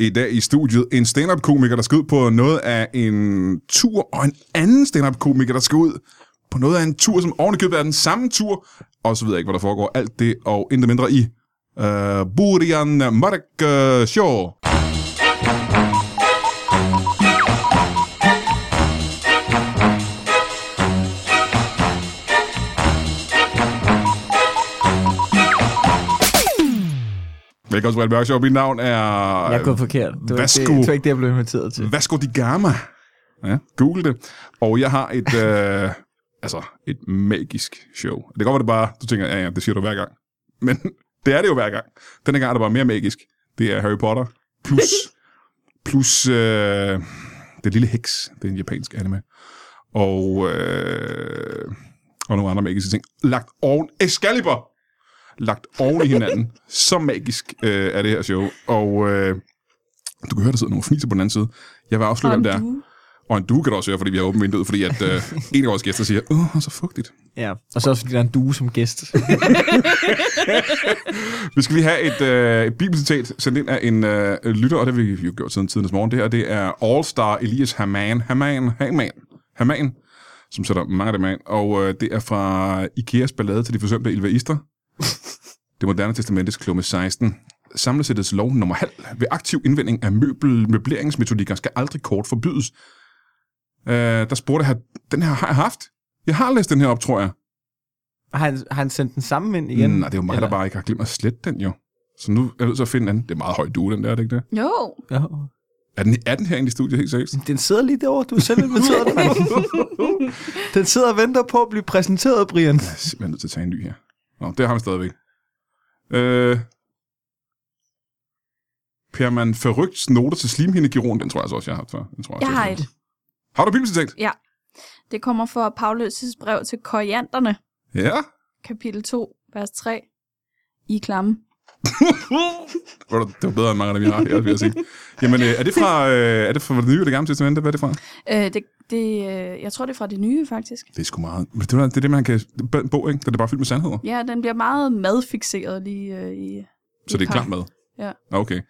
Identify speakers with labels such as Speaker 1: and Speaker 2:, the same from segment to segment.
Speaker 1: i dag i studiet en stand-up-komiker, der skal ud på noget af en tur, og en anden stand-up-komiker, der skal ud på noget af en tur, som ovenikøbet er den samme tur, og så ved jeg ikke, hvad der foregår. Alt det og intet mindre i uh, Burian Mark øh, Show. Velkommen til Brian Mørk Show. Mit navn er...
Speaker 2: Jeg er gået forkert. Det var,
Speaker 1: værsgo.
Speaker 2: ikke det, det var ikke det, jeg blev inviteret til.
Speaker 1: Vasco di Gama. Ja, google det. Og jeg har et, øh, altså, et magisk show. Det kan godt være, det bare, du tænker, ja, ja, det siger du hver gang. Men det er det jo hver gang. Denne gang er det bare mere magisk. Det er Harry Potter plus, plus øh, det lille heks. Det er en japansk anime. Og, øh, og nogle andre magiske ting. Lagt oven. Excalibur! Lagt oven i hinanden. Så magisk øh, er det her show. Og øh, du kan høre, der sidder nogle fniser på den anden side. Jeg vil afsløre, hvem det er. Og en due kan du også høre, fordi vi har åbent vinduet, fordi at øh, en af vores gæster siger, åh, hvor så fugtigt.
Speaker 2: Ja. Og så også fordi der er en due som gæst.
Speaker 1: Vi skal lige have et, øh, et bibelcitat sendt ind af en øh, lytter, og det har vi jo gjort siden tidens morgen. Det her, det er All-Star Elias Haman, Haman, Haman, Haman, som sætter mange af dem af. Og øh, det er fra Ikeas ballade til de forsømte elvaister. Det moderne testamentets klumme 16. Samlesættets lov nummer halv. Ved aktiv indvending af møbel, møbleringsmetodikker skal aldrig kort forbydes. Øh, der spurgte jeg, den her har jeg haft. Jeg har læst den her op, tror jeg.
Speaker 2: har, han, har han sendt den samme ind igen?
Speaker 1: Igen, Mm, Nej, det er jo mig,
Speaker 2: Eller-
Speaker 1: der bare ikke har glemt at slette den jo. Så nu er jeg nødt til at finde en anden. Det er meget høj due, den der, er det ikke det?
Speaker 3: Jo,
Speaker 2: Ja.
Speaker 1: Er den, er den her egentlig i studiet helt seriøst?
Speaker 2: Den sidder lige derovre. Du er selv inviteret den. den sidder og venter på at blive præsenteret, Brian.
Speaker 1: Jeg er simpelthen nødt til at tage en ny her. Nå, det har han stadigvæk. Øh, Perman Ferrygts noter til slimhindegiron, den tror jeg så også, jeg har haft før. Den tror
Speaker 3: jeg
Speaker 1: også,
Speaker 3: har
Speaker 1: haft.
Speaker 3: et.
Speaker 1: Har du bibelcitat?
Speaker 3: Ja. Det kommer fra Paulus' brev til korianderne,
Speaker 1: Ja.
Speaker 3: kapitel 2, vers 3. I er klamme.
Speaker 1: Ved du, Det var bedre end mange af dem, jeg har her, vil jeg sige. Jamen, øh, er det fra, øh, er det fra det nye og det gamle testamente? Hvad er det fra?
Speaker 3: Øh, det, det, øh, jeg tror, det er fra det nye, faktisk.
Speaker 1: Det er sgu meget. Men det, er- det er det, man kan... En bog, ikke? Den er bare fyldt med sandheder.
Speaker 3: Ja, den bliver meget madfixeret lige øh, i...
Speaker 1: Så det er
Speaker 3: Klar.
Speaker 1: klar mad?
Speaker 3: Ja.
Speaker 1: Okay.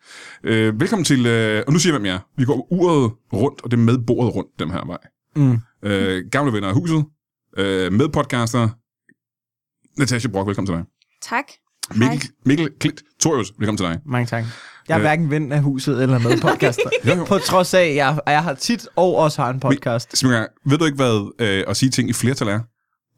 Speaker 1: Øh, velkommen til, øh, og nu siger jeg, hvem jeg er. Vi går uret rundt, og det er med bordet rundt, den her vej.
Speaker 2: Mm.
Speaker 1: Øh, gamle venner af huset, øh, med podcaster, Natasha Brock, velkommen til dig.
Speaker 3: Tak.
Speaker 1: Mikkel, Mikkel Klint Torius, velkommen til dig.
Speaker 2: Mange tak. Jeg er
Speaker 1: Øh.
Speaker 2: hverken ven af huset eller med podcaster.
Speaker 1: Jo, jo.
Speaker 2: På trods af, at jeg, jeg har tit og også har en podcast.
Speaker 1: Smikker, ved du ikke, hvad øh, at sige ting i flertal er?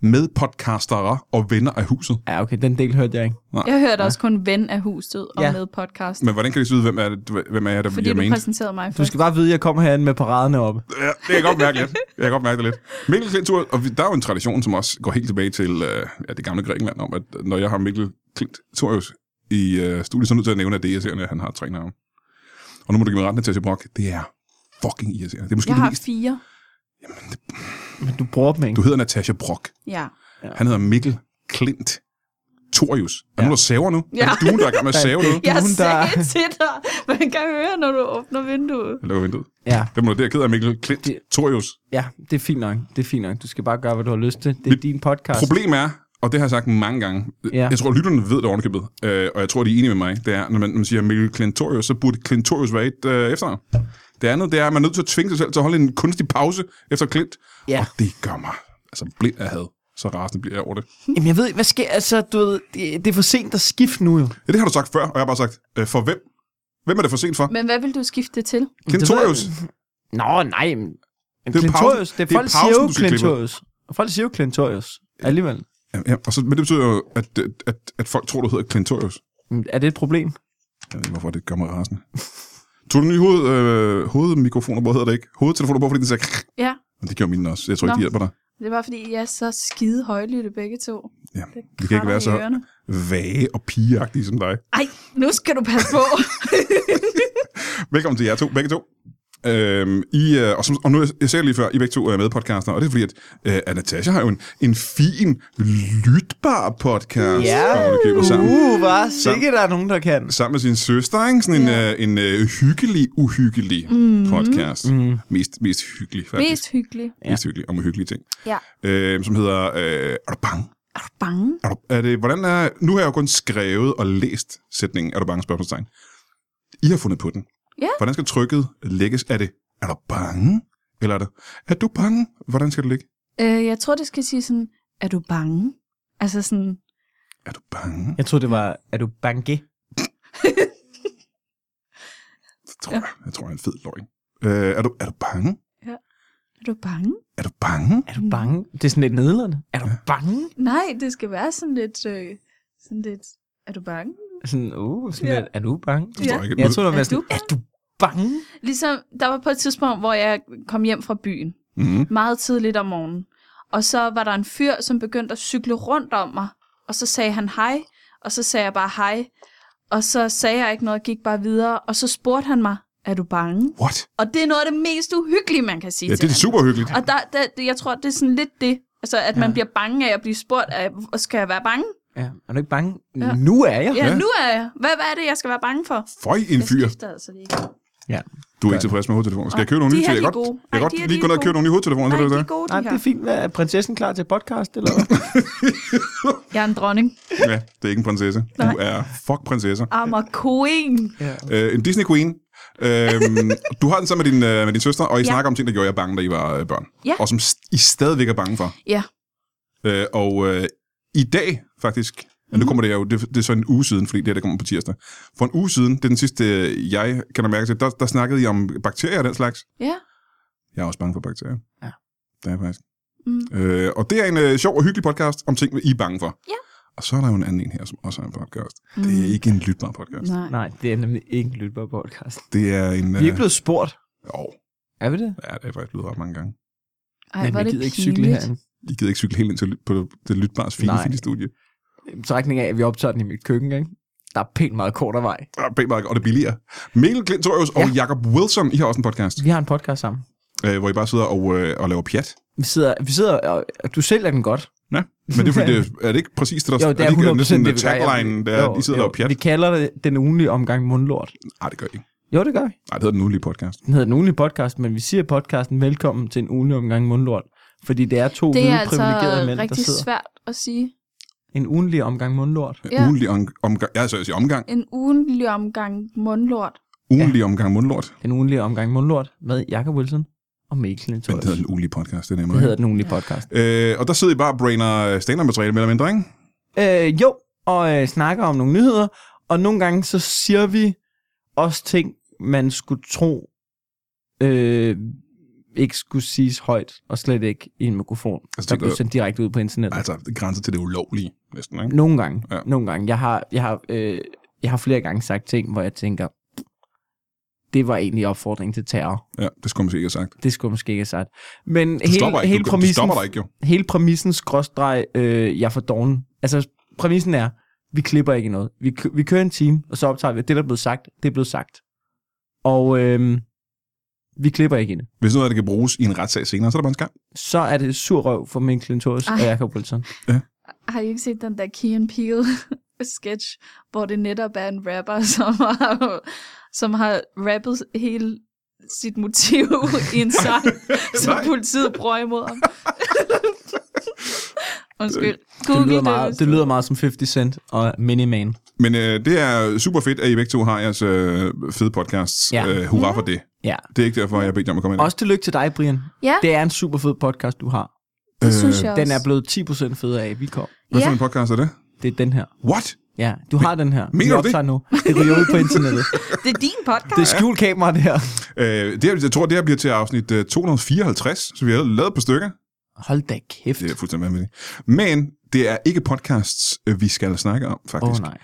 Speaker 1: Med podcastere og venner af huset.
Speaker 2: Ja, okay, den del hørte jeg ikke.
Speaker 3: Jeg hørte også kun ven af huset og
Speaker 2: Ja.
Speaker 3: ja. med podcast.
Speaker 1: Men hvordan kan de så vide, hvem er, det, hvem er jeg, der
Speaker 3: Fordi
Speaker 1: jeg
Speaker 3: du
Speaker 1: mente?
Speaker 3: præsenterede mig
Speaker 2: Du
Speaker 3: først.
Speaker 2: skal bare vide, at jeg kommer herinde med paraderne op.
Speaker 1: Ja, det kan jeg godt mærke lidt. Jeg kan godt mærke det lidt. Mikkel Klint Thorius, og vi- der er jo en tradition, som også går helt tilbage til øh, ja, det gamle Grækenland, om at når jeg har Mikkel Klint Thorius i øh, studiet, så er jeg nødt til at nævne, at det er irriterende, at han har tre navne. Og nu må du give mig retten til at Brock. Det er fucking irriterende. Det er måske
Speaker 3: Jeg
Speaker 1: det
Speaker 3: har
Speaker 1: mest.
Speaker 3: fire.
Speaker 2: Men du bruger dem ikke.
Speaker 1: Du hedder Natasha Brock.
Speaker 3: Ja.
Speaker 1: Han hedder Mikkel Klint Thorius. Er ja. nu, der saver nu?
Speaker 3: Ja.
Speaker 1: Er det du, der er i gang med at
Speaker 2: Nej,
Speaker 1: save
Speaker 2: det-
Speaker 1: noget?
Speaker 2: Ja.
Speaker 3: Jeg
Speaker 2: Nogen, der-
Speaker 3: sagde til dig, man kan høre, når du åbner vinduet.
Speaker 1: Jeg lukker vinduet.
Speaker 2: Ja,
Speaker 1: Det må du der ked af, Mikkel Klint
Speaker 2: Det-
Speaker 1: Thorius.
Speaker 2: ja, det er fint nok. Det er fint nok. Du skal bare gøre, hvad du har lyst til. Det er
Speaker 1: Mit
Speaker 2: din podcast.
Speaker 1: Problemet er, og det har jeg sagt mange gange, ja.
Speaker 2: Altså- Ja.
Speaker 1: jeg tror, lytterne ved det ovenikøbet, øh, og jeg tror, de er enige med mig, det er, når man, når man siger Mikkel Klintorius, så burde Klintorius være et øh, efternavn. Det andet, det er, at man er nødt til at tvinge sig selv til at holde en kunstig pause efter Klint,
Speaker 2: Ja.
Speaker 1: og det gør mig altså blind af had. Så rasende bliver jeg over det.
Speaker 2: Jamen, jeg ved, ikke, hvad sker, altså, du ved, det, det er for sent at skifte nu jo.
Speaker 1: Ja, det har du sagt før, og jeg har bare sagt, øh, for hvem? Hvem er det for sent for?
Speaker 3: Men hvad vil du skifte det til?
Speaker 1: Klintorius?
Speaker 2: Det ved jeg- Nå, nej, men men
Speaker 1: Det er
Speaker 2: Clintorius,
Speaker 1: pausen-
Speaker 2: det er
Speaker 1: det er
Speaker 2: folk
Speaker 1: pausen,
Speaker 2: siger jo
Speaker 1: du skal klippe.
Speaker 2: Clintorius. Folk siger jo Clintorius, alligevel.
Speaker 1: Ja, ja, og så, men det betyder jo, at, at, at, at folk tror, du hedder Klintorius.
Speaker 2: Men Mm, Er det et problem?
Speaker 1: Jeg ved ikke, hvorfor det gør mig rasende. Tog du nye hoved, øh, hovedmikrofoner på, hedder det ikke? Hovedtelefoner på, fordi den sagde... krrr.
Speaker 3: Ja.
Speaker 1: Men det gjorde mine også. Jeg tror ikke,
Speaker 3: Nå.
Speaker 1: de hjælper dig.
Speaker 3: Det var, fordi jeg er så skide højlytte begge to.
Speaker 1: Ja,
Speaker 3: Det
Speaker 1: vi kan ikke
Speaker 3: kratter
Speaker 1: være
Speaker 3: i
Speaker 1: så
Speaker 3: ørerne.
Speaker 1: vage og pigeagtige som dig.
Speaker 3: Ej, nu skal du passe på.
Speaker 1: Velkommen til jer to, begge to. Øhm, I, øh, og, som, og nu, jeg sagde det lige før, I begge to er medpodcaster, og det er fordi, at, øh, at Natasha har jo en, en fin, lytbar podcast, hvor hun køber sammen.
Speaker 2: uh, var sikkert der er nogen, der kan.
Speaker 1: Sammen med sin søster, ikke? Sådan en,
Speaker 3: Ja. Mm-hmm.
Speaker 1: øh, en øh, hyggelig, uhyggelig mm. podcast. Mm. Mest, mest hyggelig, faktisk.
Speaker 3: Mest hyggelig.
Speaker 1: ja. mest hyggelig, om hyggelige ting.
Speaker 3: Ja.
Speaker 1: Øh, som hedder, øh, er du bange?
Speaker 3: Er du bange?
Speaker 1: Er du, er det, hvordan er, nu har jeg jo kun skrevet og læst sætningen, er du bange spørgsmålstegn. I har fundet på den.
Speaker 3: Ja.
Speaker 1: Hvordan skal trykket lægges? Er det, er du bange? Eller er det, er du bange? Hvordan skal det ligge?
Speaker 3: Øh, jeg tror, det skal sige sådan, er du bange? Altså sådan,
Speaker 1: Er du bange?
Speaker 4: Jeg troede, det var, er du bange?
Speaker 1: Det tror jeg. Jeg tror, det er en fed løgn. Øh, er, du, er du bange?
Speaker 3: er du bange?
Speaker 1: Er du bange?
Speaker 4: Er du bange? Det er sådan lidt nedladende. Er du bange?
Speaker 3: Nej, det skal være sådan lidt, øh, sådan lidt, er du bange?
Speaker 4: Sådan, uh, sådan
Speaker 3: Ja.
Speaker 4: lidt, er du bange?
Speaker 1: Det forstår
Speaker 3: Ja.
Speaker 1: jeg ikke.
Speaker 4: Jeg troede, det var
Speaker 3: Er
Speaker 4: sådan,
Speaker 3: du-
Speaker 4: er du bange?
Speaker 3: Ligesom, der var på et tidspunkt, hvor jeg kom hjem fra byen,
Speaker 1: mm-hmm.
Speaker 3: meget tidligt om morgenen. Og så var der en fyr, som begyndte at cykle rundt om mig, og så sagde han hej, og så sagde jeg bare hej. Og så sagde jeg ikke noget, gik bare videre, og så spurgte han mig, er du bange?
Speaker 1: What?
Speaker 3: Og det er noget af det mest uhyggelige, man kan sige
Speaker 1: Ja,
Speaker 3: til
Speaker 1: det er
Speaker 3: hinanden.
Speaker 1: super hyggeligt.
Speaker 3: Og der, der, det- jeg tror, det er sådan lidt det. Altså, at man
Speaker 4: Ja.
Speaker 3: bliver bange af at blive spurgt, af, skal jeg være bange?
Speaker 4: Ja, er du ikke bange?
Speaker 3: Ja.
Speaker 4: Nu er jeg.
Speaker 3: Ja,
Speaker 1: Ja.
Speaker 3: ja. nu er jeg. Hvad, hvad er det, jeg skal være bange for?
Speaker 1: Føj, en
Speaker 3: Jeg
Speaker 1: fyr.
Speaker 3: skifter altså lige.
Speaker 1: Du er ikke tilfreds med hovedtelefoner. Skal jeg købe nogle
Speaker 3: De
Speaker 1: nye?
Speaker 3: her,
Speaker 1: til? Jeg
Speaker 3: de er
Speaker 1: godt,
Speaker 3: gode.
Speaker 1: jeg
Speaker 3: Ej,
Speaker 1: godt
Speaker 3: de her,
Speaker 1: lige
Speaker 3: de
Speaker 1: gå ned
Speaker 3: er
Speaker 1: og købe nogle nye hovedtelefoner, så
Speaker 3: Nej,
Speaker 1: er det
Speaker 3: de
Speaker 1: det.
Speaker 3: er gode, de
Speaker 4: Nej,
Speaker 3: her.
Speaker 4: det er fint. Hvad, er prinsessen klar til podcast, eller hvad?
Speaker 3: Jeg er en dronning.
Speaker 1: Ja, det er ikke en prinsesse. Du
Speaker 3: Nej.
Speaker 1: er fuck prinsesse.
Speaker 3: I'm a queen.
Speaker 4: ja.
Speaker 1: Øh, en Disney Queen. Øhm, du har den sammen med din, øh, med din søster, og I ja.
Speaker 3: Ja.
Speaker 1: snakker om ting, der gjorde jer bange, da I var øh, børn.
Speaker 3: Ja.
Speaker 1: Og som st- I stadigvæk er bange for.
Speaker 3: Ja.
Speaker 1: Øh, og øh, i dag, faktisk, mm.
Speaker 3: Mhm.
Speaker 1: nu kommer det jo, det, det er så en uge siden, fordi det her det kommer på tirsdag. For en uge siden, det er den sidste, øh, jeg kan mærke til, der, der snakkede I om bakterier og den slags.
Speaker 3: Ja.
Speaker 1: Jeg er også bange for bakterier.
Speaker 4: Ja.
Speaker 1: Det er jeg faktisk.
Speaker 3: Mm.
Speaker 1: Øh, og det er en øh, sjov og hyggelig podcast om ting, I er bange for.
Speaker 3: Ja.
Speaker 1: Og så er der jo en anden en her, som også er en podcast. Mm. Det er ikke en lytbar podcast.
Speaker 3: Nej.
Speaker 4: Nej, det er nemlig ikke en lytbar podcast.
Speaker 1: Det er en...
Speaker 2: Vi er ikke blevet spurgt.
Speaker 1: Jo,
Speaker 4: Er vi det?
Speaker 1: ja, det er faktisk blevet ret mange gange.
Speaker 3: Ej, hvor
Speaker 4: jeg
Speaker 3: er det
Speaker 4: gider ikke cykle
Speaker 3: pinligt.
Speaker 4: herinde.
Speaker 1: I gider ikke cykle helt ind til ly- på det lytbars fine,
Speaker 4: Nej.
Speaker 1: fine studie.
Speaker 4: I Trækning af, at vi optager den i mit køkken, ikke? Der er pænt meget kortere vej.
Speaker 1: Og Bæmark, og det er billigere. Mikkel Glintorius og Jakob Wilson, I har også en podcast,
Speaker 4: Vi har en podcast sammen.
Speaker 1: øh, hvor I bare sidder og, øh, og laver pjat.
Speaker 4: Vi sidder, vi sidder og, og du sælger den godt.
Speaker 1: Ja, men det er, fordi, det, er det ikke præcis det, der
Speaker 4: Jo, det er 100%
Speaker 1: ikke, sådan
Speaker 4: det,
Speaker 1: en
Speaker 4: vi gør.
Speaker 1: tagline, der, er,
Speaker 4: Jo,
Speaker 1: I sidder og
Speaker 4: jo.
Speaker 1: laver pjat?
Speaker 4: Vi kalder det den ugenlige omgang mundlort.
Speaker 1: Nej, det gør I ikke.
Speaker 4: Jo, det gør vi.
Speaker 1: Nej, det hedder den ugenlige podcast.
Speaker 4: Den hedder den ugenlige podcast, men vi siger i podcasten velkommen til en ugenlig omgang mundlort. Fordi det er to
Speaker 3: Det
Speaker 4: hvide
Speaker 3: er altså
Speaker 4: privilegerede mænd, der
Speaker 3: rigtig
Speaker 4: sidder.
Speaker 3: svært at sige.
Speaker 4: En ugenlig omgang mundlort.
Speaker 1: Ja. Ugenlig om, omgang, ja, så jeg siger omgang.
Speaker 3: En ugenlig omgang mundlort.
Speaker 1: Ugenlig omgang mundlort.
Speaker 4: En ugenlig omgang mundlort med Jakob Wilson og Mikkel
Speaker 1: Men det
Speaker 4: Nitorius.
Speaker 1: hedder den ugenlige podcast, det er
Speaker 4: Det
Speaker 1: nemmere.
Speaker 4: hedder den ugenlige podcast.
Speaker 1: Øh, og der sidder I bare og brainer stand-up-materiale med eller mindre, ikke?
Speaker 4: Øh, jo, og øh, snakker om nogle nyheder, og nogle gange så siger vi også ting, man skulle tro øh, ikke skulle siges højt, og slet ikke i en mikrofon,
Speaker 1: Altså,
Speaker 4: altså, der
Speaker 1: tænker
Speaker 4: blev
Speaker 1: du-
Speaker 4: sendt direkte ud på internettet.
Speaker 1: Altså, det grænser til det ulovlige, næsten, ikke?
Speaker 4: Nogle gange,
Speaker 1: Ja.
Speaker 4: ja. nogle gange. Jeg har, jeg, har, øh, jeg har flere gange sagt ting, hvor jeg tænker, det var egentlig opfordring til terror.
Speaker 1: Ja, det skulle man sikkert have sagt.
Speaker 4: Det skulle jeg måske ikke have sagt. Men
Speaker 1: Du
Speaker 4: hele,
Speaker 1: stopper ikke, du,
Speaker 4: hele
Speaker 1: du
Speaker 4: præmissen
Speaker 1: stopper dig ikke, jo.
Speaker 4: hele præmissen skråstreg, øh, jeg er for doven. Altså, præmissen er, vi klipper ikke noget. Vi, kø- vi kører en time, og så optager vi, at det, der er blevet sagt, det er blevet sagt. Og øh, vi klipper ikke i det.
Speaker 1: Hvis noget af det kan bruges i en retssag senere, så er der bare en skam.
Speaker 4: Så er det sur røv for min Klintorius og
Speaker 3: Ej.
Speaker 4: Jacob Wilson.
Speaker 3: Har I ikke set den der Key and Peele sketch, hvor det netop er en rapper, som har, som har rappet hele sit motiv i en sang, som
Speaker 1: Nej.
Speaker 3: politiet bruger imod ham. Undskyld. Google
Speaker 4: Det lyder, meget,
Speaker 3: hvis
Speaker 4: det
Speaker 3: du-
Speaker 4: lyder meget som 50 Cent og Miniman.
Speaker 1: Men øh, det er super fedt, at I begge to har jeres øh, fede podcasts. Ja.
Speaker 4: Ja. Mm.
Speaker 1: Øh, hurra for det.
Speaker 4: Ja.
Speaker 1: Det er ikke derfor, jeg har bedt jer om at komme ind.
Speaker 4: Også tillykke til dig, Brian.
Speaker 3: Ja,
Speaker 4: Det er en super fed podcast, du har.
Speaker 3: det synes jeg også.
Speaker 4: Øh, Den er blevet 10% federe af, at vi kom.
Speaker 1: Hvad for
Speaker 3: ja.
Speaker 1: en podcast er det?
Speaker 4: Det er den her.
Speaker 1: What?
Speaker 4: Ja, du har den her.
Speaker 1: mener
Speaker 4: vi
Speaker 1: du det?
Speaker 4: optager nu. Det ryger ud på internettet.
Speaker 3: Det er din podcast.
Speaker 4: Det er skjult kamera, det her.
Speaker 1: Øh, det, her- jeg tror, det her bliver til afsnit øh, 254, så vi har lavet et par stykker.
Speaker 4: Hold da kæft.
Speaker 1: Det er fuldstændig vanvittigt. Men det er ikke podcasts, øh, vi skal snakke om,
Speaker 4: Åh
Speaker 1: faktisk.
Speaker 4: oh, nej.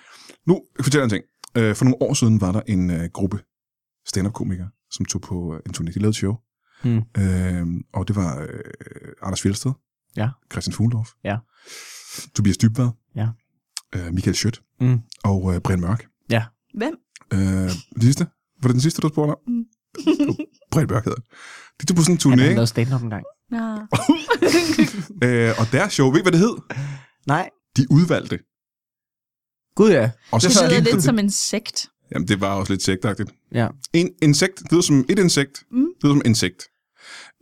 Speaker 1: Nu fortæller jeg en ting. Øh, for nogle år siden var der en øh, gruppe stand-up-komikere, som tog på øh, en turné. De lavede et show.
Speaker 4: Hmm.
Speaker 1: Øh, og det var øh, Anders Fjeldsted.
Speaker 4: Ja.
Speaker 1: Christian Fuglendorf.
Speaker 4: Ja.
Speaker 1: Tobias Dybvad.
Speaker 4: Ja.
Speaker 1: Øh, Michael Schødt.
Speaker 4: Mm.
Speaker 1: Og øh, Brian Mørk.
Speaker 3: Hvem?
Speaker 1: Øh, det sidste? Var det den sidste, du spurgte om? Oh,
Speaker 3: Mm.
Speaker 1: Brian Mørk hedder han. De tog på sådan en turné,
Speaker 4: Han har
Speaker 1: ikke?
Speaker 4: lavet stand-up en gang.
Speaker 3: Nå.
Speaker 1: øh, og deres show, ved I, hvad det hed?
Speaker 4: Nej.
Speaker 1: De udvalgte.
Speaker 4: Gud ja.
Speaker 1: Og
Speaker 3: Det
Speaker 1: skete
Speaker 3: lyder lidt
Speaker 1: det.
Speaker 3: som en sekt.
Speaker 1: Jamen, det var også lidt sektagtigt.
Speaker 4: ja.
Speaker 1: En insekt, det lyder som et insekt.
Speaker 3: Mm.
Speaker 1: Det lyder som insekt.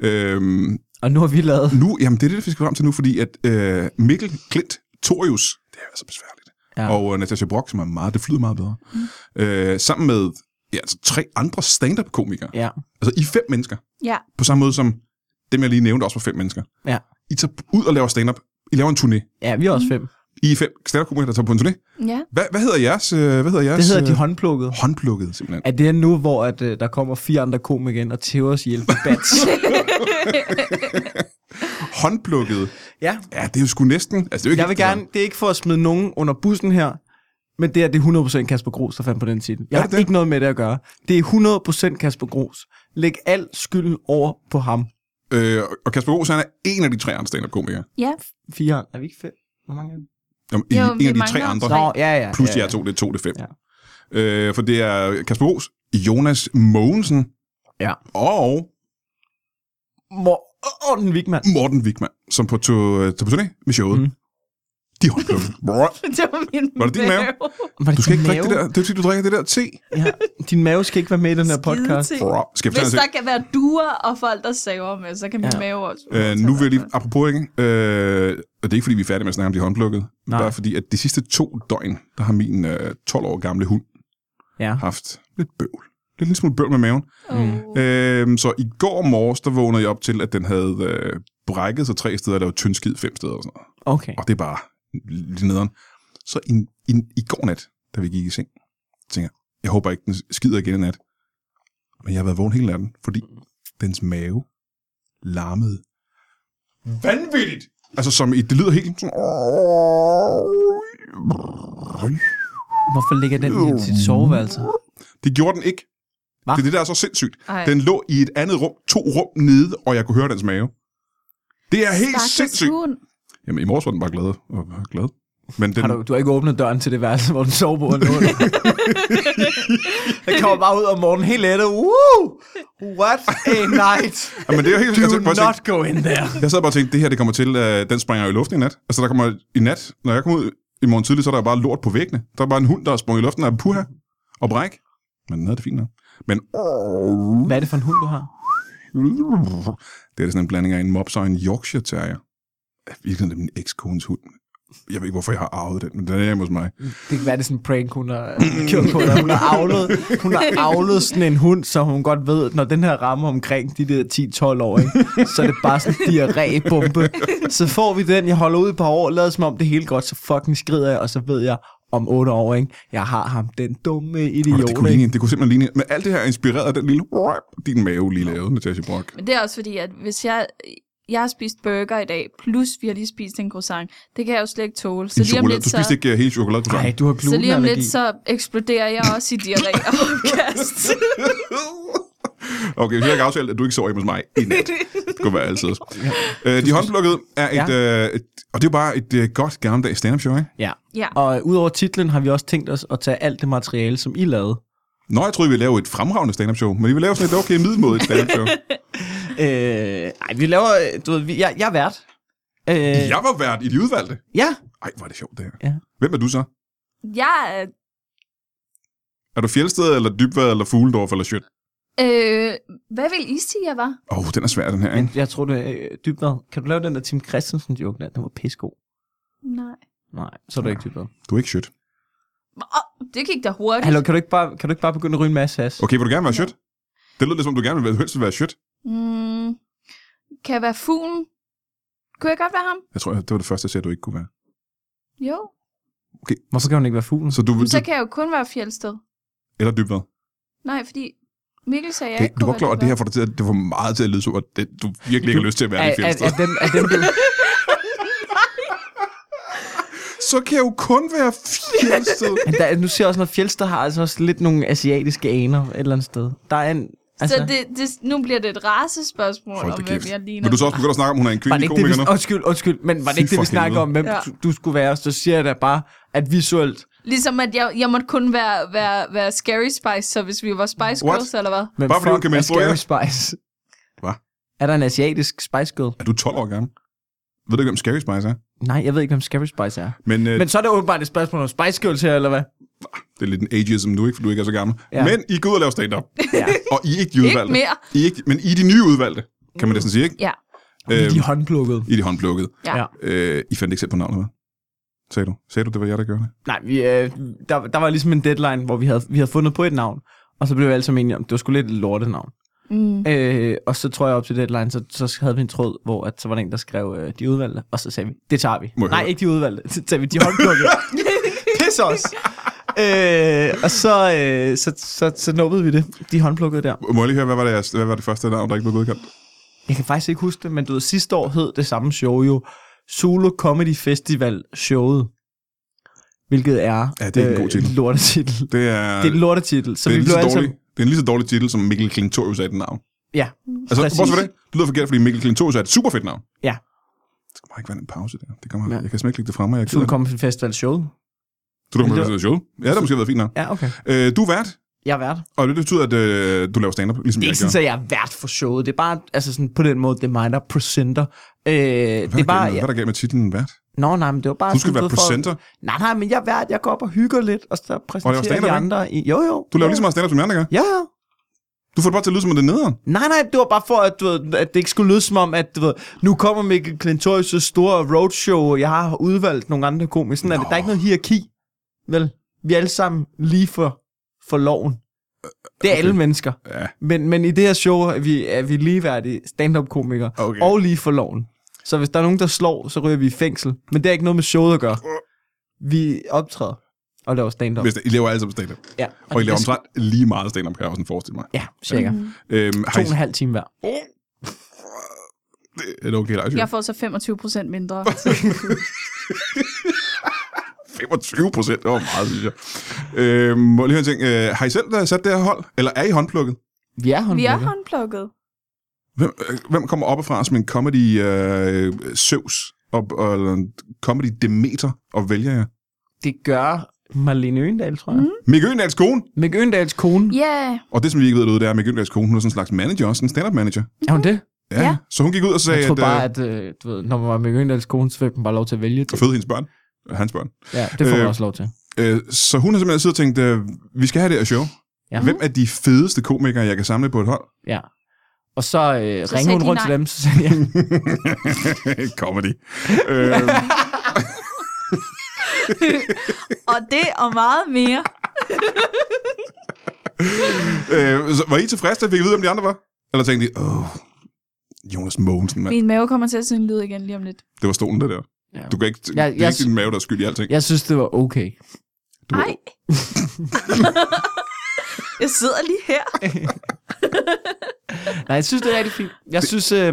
Speaker 1: Øhm,
Speaker 4: Og nu har vi lavet...
Speaker 1: nu, jamen det er det, vi skal frem til nu, fordi at øh, Mikkel Klint Torius, det er altså besværligt,
Speaker 4: Ja.
Speaker 1: og øh, Natasha Brock, som er meget, det flyder meget bedre, mm. øh, sammen med ja, altså tre andre stand-up-komikere.
Speaker 4: Ja.
Speaker 1: Altså, I er fem mennesker.
Speaker 3: Ja.
Speaker 1: På samme måde som dem, jeg lige nævnte, også var fem mennesker.
Speaker 4: Ja.
Speaker 1: I tager ud og laver stand-up. I laver en turné.
Speaker 4: Ja, vi er også fem.
Speaker 1: I er fem stand-up-komikere, der tager på en turné.
Speaker 3: Ja.
Speaker 1: Hvad, hvad hedder jeres... øh, Hvad hedder jeres
Speaker 4: Det hedder
Speaker 1: øh,
Speaker 4: De Håndplukkede.
Speaker 1: håndplukkede, simpelthen.
Speaker 4: Er det nu, hvor at, øh, der kommer fire andre komikere ind og tæver os ihjel på bats?
Speaker 1: Håndplukkede.
Speaker 4: ja,
Speaker 1: Ja, det er jo sgu næsten... Altså, det er jo ikke
Speaker 4: jeg vil
Speaker 1: helt det samme.
Speaker 4: gerne, det er ikke for at smide nogen under bussen her, men det er, det er 100% Kasper Gros, der fandt på den titel. Jeg
Speaker 1: Er
Speaker 4: har
Speaker 1: det det?
Speaker 4: ikke noget med det at gøre. Det er 100% Kasper Gros. Læg al skylden over på ham.
Speaker 1: Øh, og Kasper Gros, han er en af de tre andre stand-up-komikere.
Speaker 3: ja.
Speaker 4: Fire, er vi ikke fem? Hvor mange er vi?
Speaker 1: Jamen, I,
Speaker 3: Jo,
Speaker 1: en
Speaker 3: vi
Speaker 1: af de tre
Speaker 3: mangler
Speaker 1: andre.
Speaker 3: tre.
Speaker 4: Nå, ja, ja.
Speaker 1: Plus
Speaker 4: ja,
Speaker 1: de
Speaker 4: ja.
Speaker 1: her to, det er to, det er fem.
Speaker 4: Ja.
Speaker 1: Øh, for det er Kasper Gros, Jonas Mogensen
Speaker 4: Ja.
Speaker 1: og
Speaker 4: Mor- Åh, oh, den Vigman.
Speaker 1: Morten Wigman, som på, to, på turné med showet. Mm.
Speaker 4: Mhm.
Speaker 1: De håndplukkede. Brrr.
Speaker 3: Det var min
Speaker 1: Var det din mave?
Speaker 4: Var det
Speaker 1: Du skal
Speaker 4: din
Speaker 1: ikke drikke
Speaker 4: mave?
Speaker 1: det der. Det er fordi, du drikker det der te.
Speaker 4: Ja, din mave skal ikke være med i den her podcast.
Speaker 3: Skideting.
Speaker 1: Brrr. Skal jeg
Speaker 3: Hvis
Speaker 1: fortælle dig
Speaker 3: der kan være duer og folk, der saver med, så kan min
Speaker 4: Ja.
Speaker 3: mave også.
Speaker 1: en ting? øh, nu vil jeg lige, apropos ikke, øh, og det er ikke fordi, vi er færdige med at snakke om de håndplukkede.
Speaker 4: Nej.
Speaker 1: Bare fordi, at de sidste to døgn, der har min øh, 12 år gamle hund
Speaker 4: Ja.
Speaker 1: haft lidt bøvl. Lidt lille smule bøvl med maven.
Speaker 3: Uh.
Speaker 1: Øhm, så i går morges, der vågnede jeg op til, at den havde øh, brækket sig tre steder, og lavet tyndskid fem steder og sådan noget.
Speaker 4: Okay.
Speaker 1: Og det er bare lidt nederen. Så i, i, i går nat, da vi gik i seng, tænker jeg, jeg håber ikke, den skider igen i nat. Men jeg har været vågen hele natten, fordi dens mave larmede vanvittigt. Altså som i, det lyder helt sådan...
Speaker 4: Hvorfor ligger den i sit soveværelse?
Speaker 1: Det gjorde den ikke.
Speaker 4: Hva?
Speaker 1: Det er det, der er så sindssygt.
Speaker 3: Ej.
Speaker 1: Den lå i et andet rum, to rum nede, og jeg kunne høre dens mave. Det er helt
Speaker 3: Stakkels
Speaker 1: sindssygt.
Speaker 3: hund.
Speaker 1: Jamen, i morges var den bare glad. Og var glad. Men den,
Speaker 4: Har du, du har ikke åbnet døren til det værelse, hvor den sover på under. den kommer bare ud om morgenen helt lettet. Woo! What a night!
Speaker 1: Jamen, det er jo helt... Altså,
Speaker 4: Do
Speaker 1: prøv at tænke-
Speaker 4: not go in there.
Speaker 1: Jeg sad bare og tænkte, det her det kommer til, øh, den springer jo i luften i nat. Altså der kommer i nat, når jeg kommer ud i morgen tidlig, så er der jo bare lort på væggene. Der er bare en hund, der er sprunget i luften af puha og bræk. Men den havde det fint nok. Men
Speaker 4: Hvad er det for en hund, du har?
Speaker 1: det er da sådan en blanding af en mops og en Yorkshire Terrier. Jeg virkelig det er min ekskones hund. Jeg ved ikke, hvorfor jeg har arvet den, men den er hjemme hos mig.
Speaker 4: Det kan være, det er sådan en prank, hun har kørt på dig. Hun har, avlet, hun har avlet sådan en hund, så hun godt ved, at når den her rammer omkring de der 10-12 år, ikke, så er det bare sådan en diarrébombe. Så får vi den, jeg holder ud et par år, lader som om det hele godt, så fucking skrider jeg, og så ved jeg om 8 år, ikke? jeg har ham, den dumme
Speaker 1: Jo, det,
Speaker 4: idiot.
Speaker 1: kunne
Speaker 4: ikke?
Speaker 1: ligne, det kunne simpelthen ligne. Men alt det her er inspireret af den lille din mave lige lavede, Natasha Brock.
Speaker 3: Men det er også fordi, at hvis jeg, jeg har spist burger i dag, plus vi har lige spist en croissant, det kan jeg jo slet ikke tåle. Så
Speaker 1: Din
Speaker 3: lige om
Speaker 1: chokolade.
Speaker 3: lidt,
Speaker 1: Du spiste
Speaker 3: så,
Speaker 1: ikke øh, hele chokoladen.
Speaker 4: Nej, du har
Speaker 3: så lige om lidt,
Speaker 4: glutenallergi.
Speaker 3: så eksploderer jeg også i diarré og opkast.
Speaker 1: Okay, vi har ikke aftalt, at du ikke sover hjemme hos mig i nat. Det kunne være altid. Øh, de håndplukkede er et, ja. øh, et, og det er jo bare et øh, godt gammeldags stand-up show, ikke?
Speaker 4: Ja.
Speaker 3: Ja.
Speaker 4: Og øh, udover titlen har vi også tænkt os at tage alt det materiale, som I lavede,
Speaker 1: Nå, jeg troede, vi ville lave et fremragende stand-up show, men vi vil lave sådan et okay middelmådigt stand-up show.
Speaker 4: Øh, ej, vi laver, øh, du ved, vi, jeg, jeg er vært. Øh,
Speaker 1: jeg var vært i de udvalgte.
Speaker 4: ja.
Speaker 1: Ej, hvor er det sjovt, det her.
Speaker 4: Ja.
Speaker 1: Hvem er du så?
Speaker 3: Jeg
Speaker 1: Er du Fjeldsted, eller Dybvad, eller Fugledorf, eller Sjøt?
Speaker 3: er... Øh, hvad vil I sige, jeg var?
Speaker 1: Åh, oh, den er svær, den her,
Speaker 4: Men
Speaker 1: ikke?
Speaker 4: jeg tror, det er øh, dybvad. Kan du lave den der Tim Christensen joke der? Den var pissegod.
Speaker 3: Nej.
Speaker 4: Nej, så er du ikke dybvad.
Speaker 1: Du er ikke Sjøt.
Speaker 3: Oh, det gik da hurtigt.
Speaker 4: Hallo, kan du ikke bare, kan du ikke bare begynde at ryge en masse has?
Speaker 1: Okay, vil du gerne være Sjøt? Det lyder lidt som, du gerne vil være, helst vil være Sjøt.
Speaker 3: Mm, kan jeg være fuglen? Kunne jeg godt være ham?
Speaker 1: Jeg tror, det var det første, jeg sagde, du ikke kunne være.
Speaker 3: Jo.
Speaker 4: Hvorfor Mm. kan hun ikke være fuglen?
Speaker 1: Så du vil...
Speaker 3: Men så kan jeg jo kun være fjeldsted.
Speaker 1: Eller Dybvad.
Speaker 3: Nej, fordi Mikkel sagde, jeg
Speaker 1: Det,
Speaker 3: ikke
Speaker 1: du
Speaker 3: kunne
Speaker 1: var klar, over,
Speaker 3: være
Speaker 1: at det her får dig til at, det var meget til at lyde som, at det, du virkelig ikke har lyst til at være i
Speaker 4: er, er,
Speaker 1: Fjeldsted.
Speaker 4: er, dem, er dem, du...
Speaker 1: så kan jeg jo kun være fjeldsted.
Speaker 4: Men der, nu ser jeg også, når Fjeldsted har altså også lidt nogle asiatiske aner et eller andet sted. Der er en...
Speaker 3: Altså,
Speaker 4: Altså,
Speaker 3: så det, det, nu bliver det et racespørgsmål
Speaker 1: Hold da
Speaker 3: om, hvem jeg
Speaker 1: kæft.
Speaker 3: ligner.
Speaker 1: Vil du så også begynde at snakke om, hun er en
Speaker 4: var det
Speaker 1: kvindelig
Speaker 4: ikke
Speaker 1: komiker
Speaker 4: det,
Speaker 1: nu?
Speaker 4: vi, undskyld, undskyld, men var det
Speaker 1: Fy
Speaker 4: ikke det, vi
Speaker 1: for
Speaker 4: snakker
Speaker 1: helvede.
Speaker 4: om, hvem
Speaker 3: Ja.
Speaker 4: du, du skulle være? Så siger jeg da bare, at visuelt,
Speaker 3: Ligesom at jeg, jeg måtte kun være, være, være Scary Spice, så hvis vi var Spice
Speaker 1: What?
Speaker 3: Girls, eller hvad?
Speaker 4: men
Speaker 1: Bare fordi hun
Speaker 4: fuck,
Speaker 1: kan
Speaker 4: er
Speaker 1: menstruere.
Speaker 4: Scary Spice.
Speaker 1: Hva?
Speaker 4: Er der en asiatisk Spice Girl?
Speaker 1: Er du 12 år gammel? Ved du ikke, hvem Scary Spice er?
Speaker 4: Nej, jeg ved ikke, hvem Scary Spice er.
Speaker 1: Men, øh,
Speaker 4: Men så er det åbenbart et spørgsmål om Spice Girls her, eller hvad?
Speaker 1: det er lidt en ageism nu, ikke? For du ikke er så gammel.
Speaker 4: Ja.
Speaker 1: Men I går ud og laver stand-up.
Speaker 4: Ja.
Speaker 1: Og I er ikke de udvalgte.
Speaker 3: Ikke mere.
Speaker 1: I er ikke, men I er de nye udvalgte, kan man næsten sige, ikke?
Speaker 3: Ja.
Speaker 1: Øhm,
Speaker 4: De er håndplukkede.
Speaker 1: I er de håndplukkede.
Speaker 3: Ja.
Speaker 4: Ja.
Speaker 1: Øh, I fandt ikke selv på navnet, hvad? Sagde du? Sagde du, det var jeg, der gjorde det?
Speaker 4: Nej, vi, øh, der, der var ligesom en deadline, hvor vi havde, vi havde fundet på et navn. Og så blev vi alle sammen enige om, det var sgu lidt et lortenavn.
Speaker 3: Mm.
Speaker 4: Øh, og så tror jeg op til deadline, så, så havde vi en tråd, hvor at, så var der en, der skrev øh, de udvalgte, og så sagde vi, det tager vi.
Speaker 1: Må jeg
Speaker 4: Nej,
Speaker 1: høre?
Speaker 4: ikke de udvalgte, det tager vi, de håndplukkede. Pis os! øh, og så, øh, så, så, så nubbede vi det, de håndplukkede der.
Speaker 1: Må jeg lige høre, hvad var det, jeres- hvad var det første navn, der ikke blev godkendt?
Speaker 4: Jeg kan faktisk ikke huske det, men du ved, sidste år hed det samme show jo Solo Comedy Festival showet. Hvilket er,
Speaker 1: Ja, det er en god titel.
Speaker 4: en lortetitel. Det
Speaker 1: Det er,
Speaker 4: er en lortetitel. Så
Speaker 1: det er, lige
Speaker 4: vi blev
Speaker 1: så
Speaker 4: alle
Speaker 1: dårlig,
Speaker 4: sammen...
Speaker 1: det er en lige så dårlig titel, som Mikkel Klingtorius er et navn.
Speaker 4: Ja,
Speaker 1: Altså,
Speaker 4: Præcis.
Speaker 1: hvorfor det? Det lyder forkert, fordi Mikkel Klingtorius er et super fedt navn.
Speaker 4: Ja.
Speaker 1: Det skal bare ikke være en pause der. Det kommer,
Speaker 4: Ja.
Speaker 1: Jeg kan simpelthen ikke lægge det fremme, jeg
Speaker 4: Solo
Speaker 1: gider.
Speaker 4: Comedy Festival showet.
Speaker 1: Så du
Speaker 4: Men
Speaker 1: kommer
Speaker 4: det
Speaker 1: til at show. Ja, det har måske været fint nok.
Speaker 4: Ja, okay.
Speaker 1: Øh, du er vært,
Speaker 4: Jeg er vært.
Speaker 1: og det betyder, at øh, du laver stand-up, ligesom
Speaker 4: Det er
Speaker 1: jeg
Speaker 4: ikke sådan,
Speaker 1: gør.
Speaker 4: at jeg er vært for showet. Det er bare, altså sådan på den måde, det er mig, der presenter. Øh, det
Speaker 1: Hvad
Speaker 4: er
Speaker 1: er, bare,
Speaker 4: bare...
Speaker 1: med, hvad er der galt med titlen vært?
Speaker 4: Nå, nej, men det var bare...
Speaker 1: Du skal
Speaker 4: sådan,
Speaker 1: være
Speaker 4: ved, for-
Speaker 1: presenter.
Speaker 4: Nej, nej, men jeg er vært. Jeg går op og hygger lidt, og så præsenterer de
Speaker 1: stand-up,
Speaker 4: andre. I... Jo, jo.
Speaker 1: Du laver
Speaker 4: jo.
Speaker 1: lige så meget stand-up, som jeg andre gør.
Speaker 4: Ja, ja.
Speaker 1: Du får det bare til at lyde som, at det er nederen.
Speaker 4: Nej, nej, det var bare for, at, du ved, at det ikke skulle lyde som om, at du ved, nu kommer Mikkel Klintorius' store roadshow, og jeg har udvalgt nogle andre komikere. Sådan er det.
Speaker 1: Nå.
Speaker 4: Der er ikke noget hierarki. Vel, vi er alle sammen lige for, for loven. Det er
Speaker 1: okay.
Speaker 4: alle mennesker.
Speaker 1: Ja.
Speaker 4: Men, men i det her show er vi, er vi ligeværdige stand-up-komikere
Speaker 1: Okay.
Speaker 4: og lige for loven. Så hvis der er nogen, der slår, så ryger vi i fængsel. Men det er ikke noget med showet at gøre. Vi optræder og laver stand-up.
Speaker 1: Hvis det, I laver alle sammen stand-up.
Speaker 4: Ja,
Speaker 1: Og I
Speaker 4: det
Speaker 1: laver
Speaker 4: er sgu-
Speaker 1: omtrent lige meget stand-up, kan jeg også sådan forestille mig.
Speaker 4: Ja, cirka.
Speaker 1: Øhm, har
Speaker 4: To
Speaker 1: I,
Speaker 4: og en halv time hver.
Speaker 1: er det okay, Lars?
Speaker 3: Jeg får så 25 procent mindre.
Speaker 1: 25 procent, det var meget, synes jeg. Øhm, må jeg lige høre en ting. Øh, har I selv øh, sat det her hold, eller er I håndplukket?
Speaker 4: Vi er
Speaker 3: Vi er
Speaker 4: håndværkere.
Speaker 3: håndplukket.
Speaker 1: Hvem, øh, hvem kommer oppefra som en comedy øh, søvs og, og eller en comedy demeter og vælger jer?
Speaker 4: Det gør Marlene Øendal, tror jeg. Mm.
Speaker 1: Mikke Øendals kone,
Speaker 4: Mikke Øendals kone.
Speaker 3: Ja, yeah.
Speaker 1: og det som vi ikke ved derude, det er, at Mikke Øendals kone, hun er sådan en slags manager, også en stand-up manager.
Speaker 4: Er hun det?
Speaker 3: Ja.
Speaker 1: Så hun gik ud og sagde,
Speaker 4: Jeg tror
Speaker 1: at,
Speaker 4: bare,
Speaker 1: bare, at...
Speaker 4: at øh, du ved, når man var Mikke Øendals kone, så fik man bare lov til at vælge
Speaker 1: og
Speaker 4: det.
Speaker 1: fødte hendes børn, øh, hans børn.
Speaker 4: Ja, det får man
Speaker 1: Øh,
Speaker 4: også lov til.
Speaker 1: Øh, så hun har simpelthen siddet og tænkt, øh, vi skal have det her show.
Speaker 4: Ja.
Speaker 1: Hvem er de fedeste komikere, jeg kan samle på et hold?
Speaker 4: Ja. Og så, øh,
Speaker 3: Så
Speaker 4: så ringede
Speaker 3: sagde
Speaker 4: hun
Speaker 3: de
Speaker 4: rundt til
Speaker 3: nej.
Speaker 4: dem, så sagde jeg,
Speaker 1: comedy. øh,
Speaker 3: og det og meget mere.
Speaker 1: øh, så var I tilfredse, da I fik at vide, om de andre var? Eller tænkte I, åh, Jonas Mogensen, mand.
Speaker 3: Min mave kommer til at synge lyd igen lige om lidt.
Speaker 1: Det var stolen, der der.
Speaker 4: Ja.
Speaker 1: Du kan ikke, det
Speaker 4: jeg
Speaker 1: er ikke
Speaker 4: sy-
Speaker 1: din mave, der er skyld i alting.
Speaker 4: jeg synes, det var okay.
Speaker 3: Nej. jeg sidder lige her.
Speaker 4: Nej, jeg synes, det er rigtig fint. Jeg synes, øh,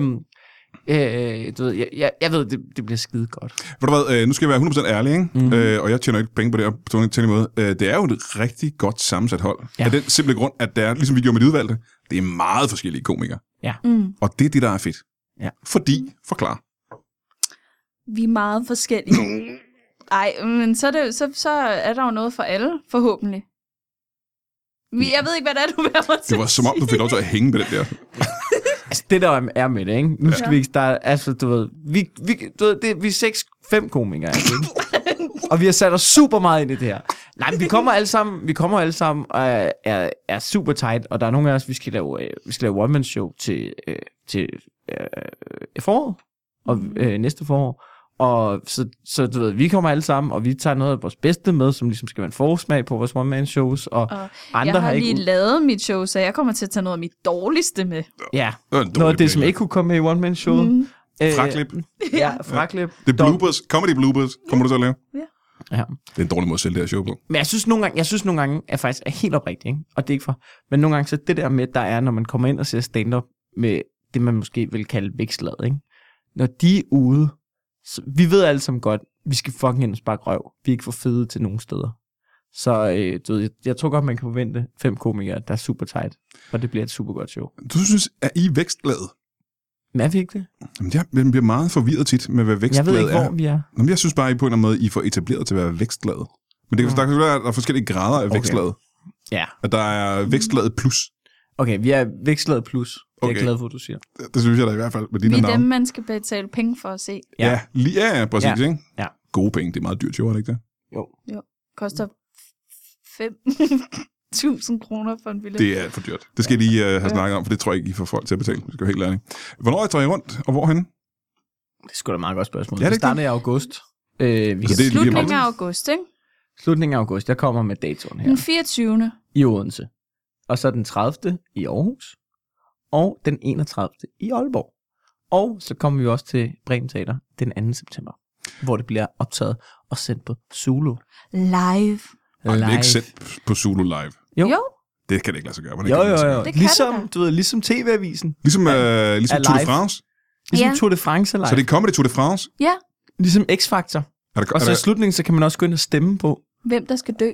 Speaker 4: øh, du ved, jeg, jeg, jeg ved, det, det bliver skide godt.
Speaker 1: Ved du hvad, øh, nu skal jeg være 100% ærlig, ikke?
Speaker 4: Mhm.
Speaker 1: Mm-hmm. Øh, og jeg tjener ikke penge på det her, på nogen tænkelig måde. Øh, det er jo et rigtig godt sammensat hold. Ja.
Speaker 4: Ja.
Speaker 1: Af den simple grund, at det er, ligesom vi gjorde med de udvalgte, det er meget forskellige komikere.
Speaker 3: Mm.
Speaker 1: Og det er det, der er fedt.
Speaker 4: Ja.
Speaker 1: Fordi, forklar.
Speaker 3: Vi er meget forskellige. Ej, men så er, det, så, så er der jo noget for alle, forhåbentlig. Vi- Jeg ved ikke, hvad det er, du vil mig til.
Speaker 1: Det var som om, du fik lov til at hænge med den der.
Speaker 4: Altså, det der er- er med det, ikke? Nu skal
Speaker 3: Ja.
Speaker 4: ja. vi ikke starte... Altså, du ved... Vi, vi, du ved det, vi er seks, fem komikere, ikke? og vi har sat os super meget ind i det her. Nej, men vi kommer alle sammen, vi kommer alle sammen og er, er, er super tight, og der er nogle af os, vi skal lave, øh, vi skal lave one-man show til, øh, til øh, foråret, og øh, næste forår. Og så, så du ved, vi kommer alle sammen, og vi tager noget af vores bedste med, som ligesom skal være en forsmag på vores one-man-shows, og, og
Speaker 3: Og
Speaker 4: andre
Speaker 3: jeg har
Speaker 4: ikke...
Speaker 3: lige
Speaker 4: ud-
Speaker 3: lavet mit show, så jeg kommer til at tage noget af mit dårligste med.
Speaker 4: Ja,
Speaker 1: Det var en dårlig
Speaker 4: noget af det, som
Speaker 1: plan.
Speaker 4: ikke kunne komme med i one-man-showet.
Speaker 3: Mm.
Speaker 4: Øh,
Speaker 1: Fraklip.
Speaker 4: Ja, fraklip.
Speaker 1: Det er bloopers. Comedy bloopers. Kommer du til at lave?
Speaker 4: Ja.
Speaker 1: Det er en dårlig måde at sælge det her show på.
Speaker 4: Men jeg synes nogle gange, jeg synes nogle gange, at jeg faktisk er helt oprigtig, ikke? og det er ikke for, men nogle gange så det der med, der er, når man kommer ind og ser stand-up med det, man måske vil kalde vækstlaget, ikke? når de er ude, så, vi ved alle sammen godt, vi skal fucking ind og sparke røv. Vi er ikke for fede til nogen steder. Så øh, du ved, jeg, jeg tror godt, man kan forvente fem komikere, der er super tight, og det bliver et super godt show.
Speaker 1: Du synes, at I er vækstlaget?
Speaker 4: Men er vi ikke det?
Speaker 1: Jamen, jeg jeg bliver meget forvirret tit med, hvad
Speaker 4: Jeg
Speaker 1: vækstlaget
Speaker 4: ved ikke,
Speaker 1: er.
Speaker 4: hvor vi er.
Speaker 1: Nå, men jeg synes bare, at I på en eller anden måde, I får etableret til at være vækstlaget. Men det kan,
Speaker 4: Mm.
Speaker 1: der kan jo være, at der er forskellige grader af
Speaker 4: Okay.
Speaker 1: vækstlaget.
Speaker 4: Ja.
Speaker 1: At der er vækstlaget plus.
Speaker 4: Okay, vi er vækstlaget plus. Det er
Speaker 1: Okay.
Speaker 4: jeg glad for, du siger.
Speaker 1: Det, det synes jeg da i hvert fald med
Speaker 3: Vi
Speaker 1: dine
Speaker 3: er dem,
Speaker 1: navne.
Speaker 3: man skal betale penge for at se.
Speaker 1: Ja, ja, lige, ja, ja præcis,
Speaker 4: Ja.
Speaker 1: ikke?
Speaker 4: Ja.
Speaker 1: Gode penge, det er meget dyrt, jo, er det ikke det?
Speaker 4: Jo.
Speaker 3: Koster 5.000 kroner for en billet.
Speaker 1: Det er alt for dyrt. Det skal I lige uh, have snakket om, for det tror jeg ikke, I får folk til at betale. Vi skal være helt ærlige. Hvornår er I tager rundt, og hvorhen?
Speaker 4: Det er sgu da et meget godt
Speaker 1: Ja,
Speaker 4: spørgsmål.
Speaker 1: det er
Speaker 4: det starter i august. Øh, vi
Speaker 1: Så
Speaker 4: kan
Speaker 1: det er lige om
Speaker 3: Slutningen
Speaker 1: lidt.
Speaker 3: af august, ikke?
Speaker 4: Mm. Slutningen af august, jeg kommer med datoen her.
Speaker 3: Den 24.
Speaker 4: I Odense. og så den 30. i Aarhus, og den 31. i Aalborg. Og så kommer vi også til Bremen Teater den 2. september, hvor det bliver optaget og sendt på Zulu.
Speaker 3: Live.
Speaker 1: Ej, det er ikke sendt på Zulu Live.
Speaker 4: Jo.
Speaker 3: jo.
Speaker 1: Det kan det ikke lade sig gøre. hvordan
Speaker 4: Jo,
Speaker 1: kan det lade sig
Speaker 4: jo, jo.
Speaker 1: gøre?
Speaker 3: Det kan det
Speaker 4: Ligesom,
Speaker 3: da.
Speaker 4: du ved, ligesom TV-avisen.
Speaker 1: Ligesom, øh, ligesom
Speaker 4: Er
Speaker 1: Tour de
Speaker 4: live.
Speaker 1: France.
Speaker 4: Ligesom
Speaker 3: Ja.
Speaker 4: Tour de France
Speaker 1: Så det
Speaker 4: live.
Speaker 1: er comedy Tour de France.
Speaker 3: Ja,
Speaker 4: Ligesom X-Factor.
Speaker 1: Er der, er,
Speaker 4: Og så i
Speaker 1: der,
Speaker 4: slutningen, så kan man også gå ind og stemme på.
Speaker 3: hvem der skal dø.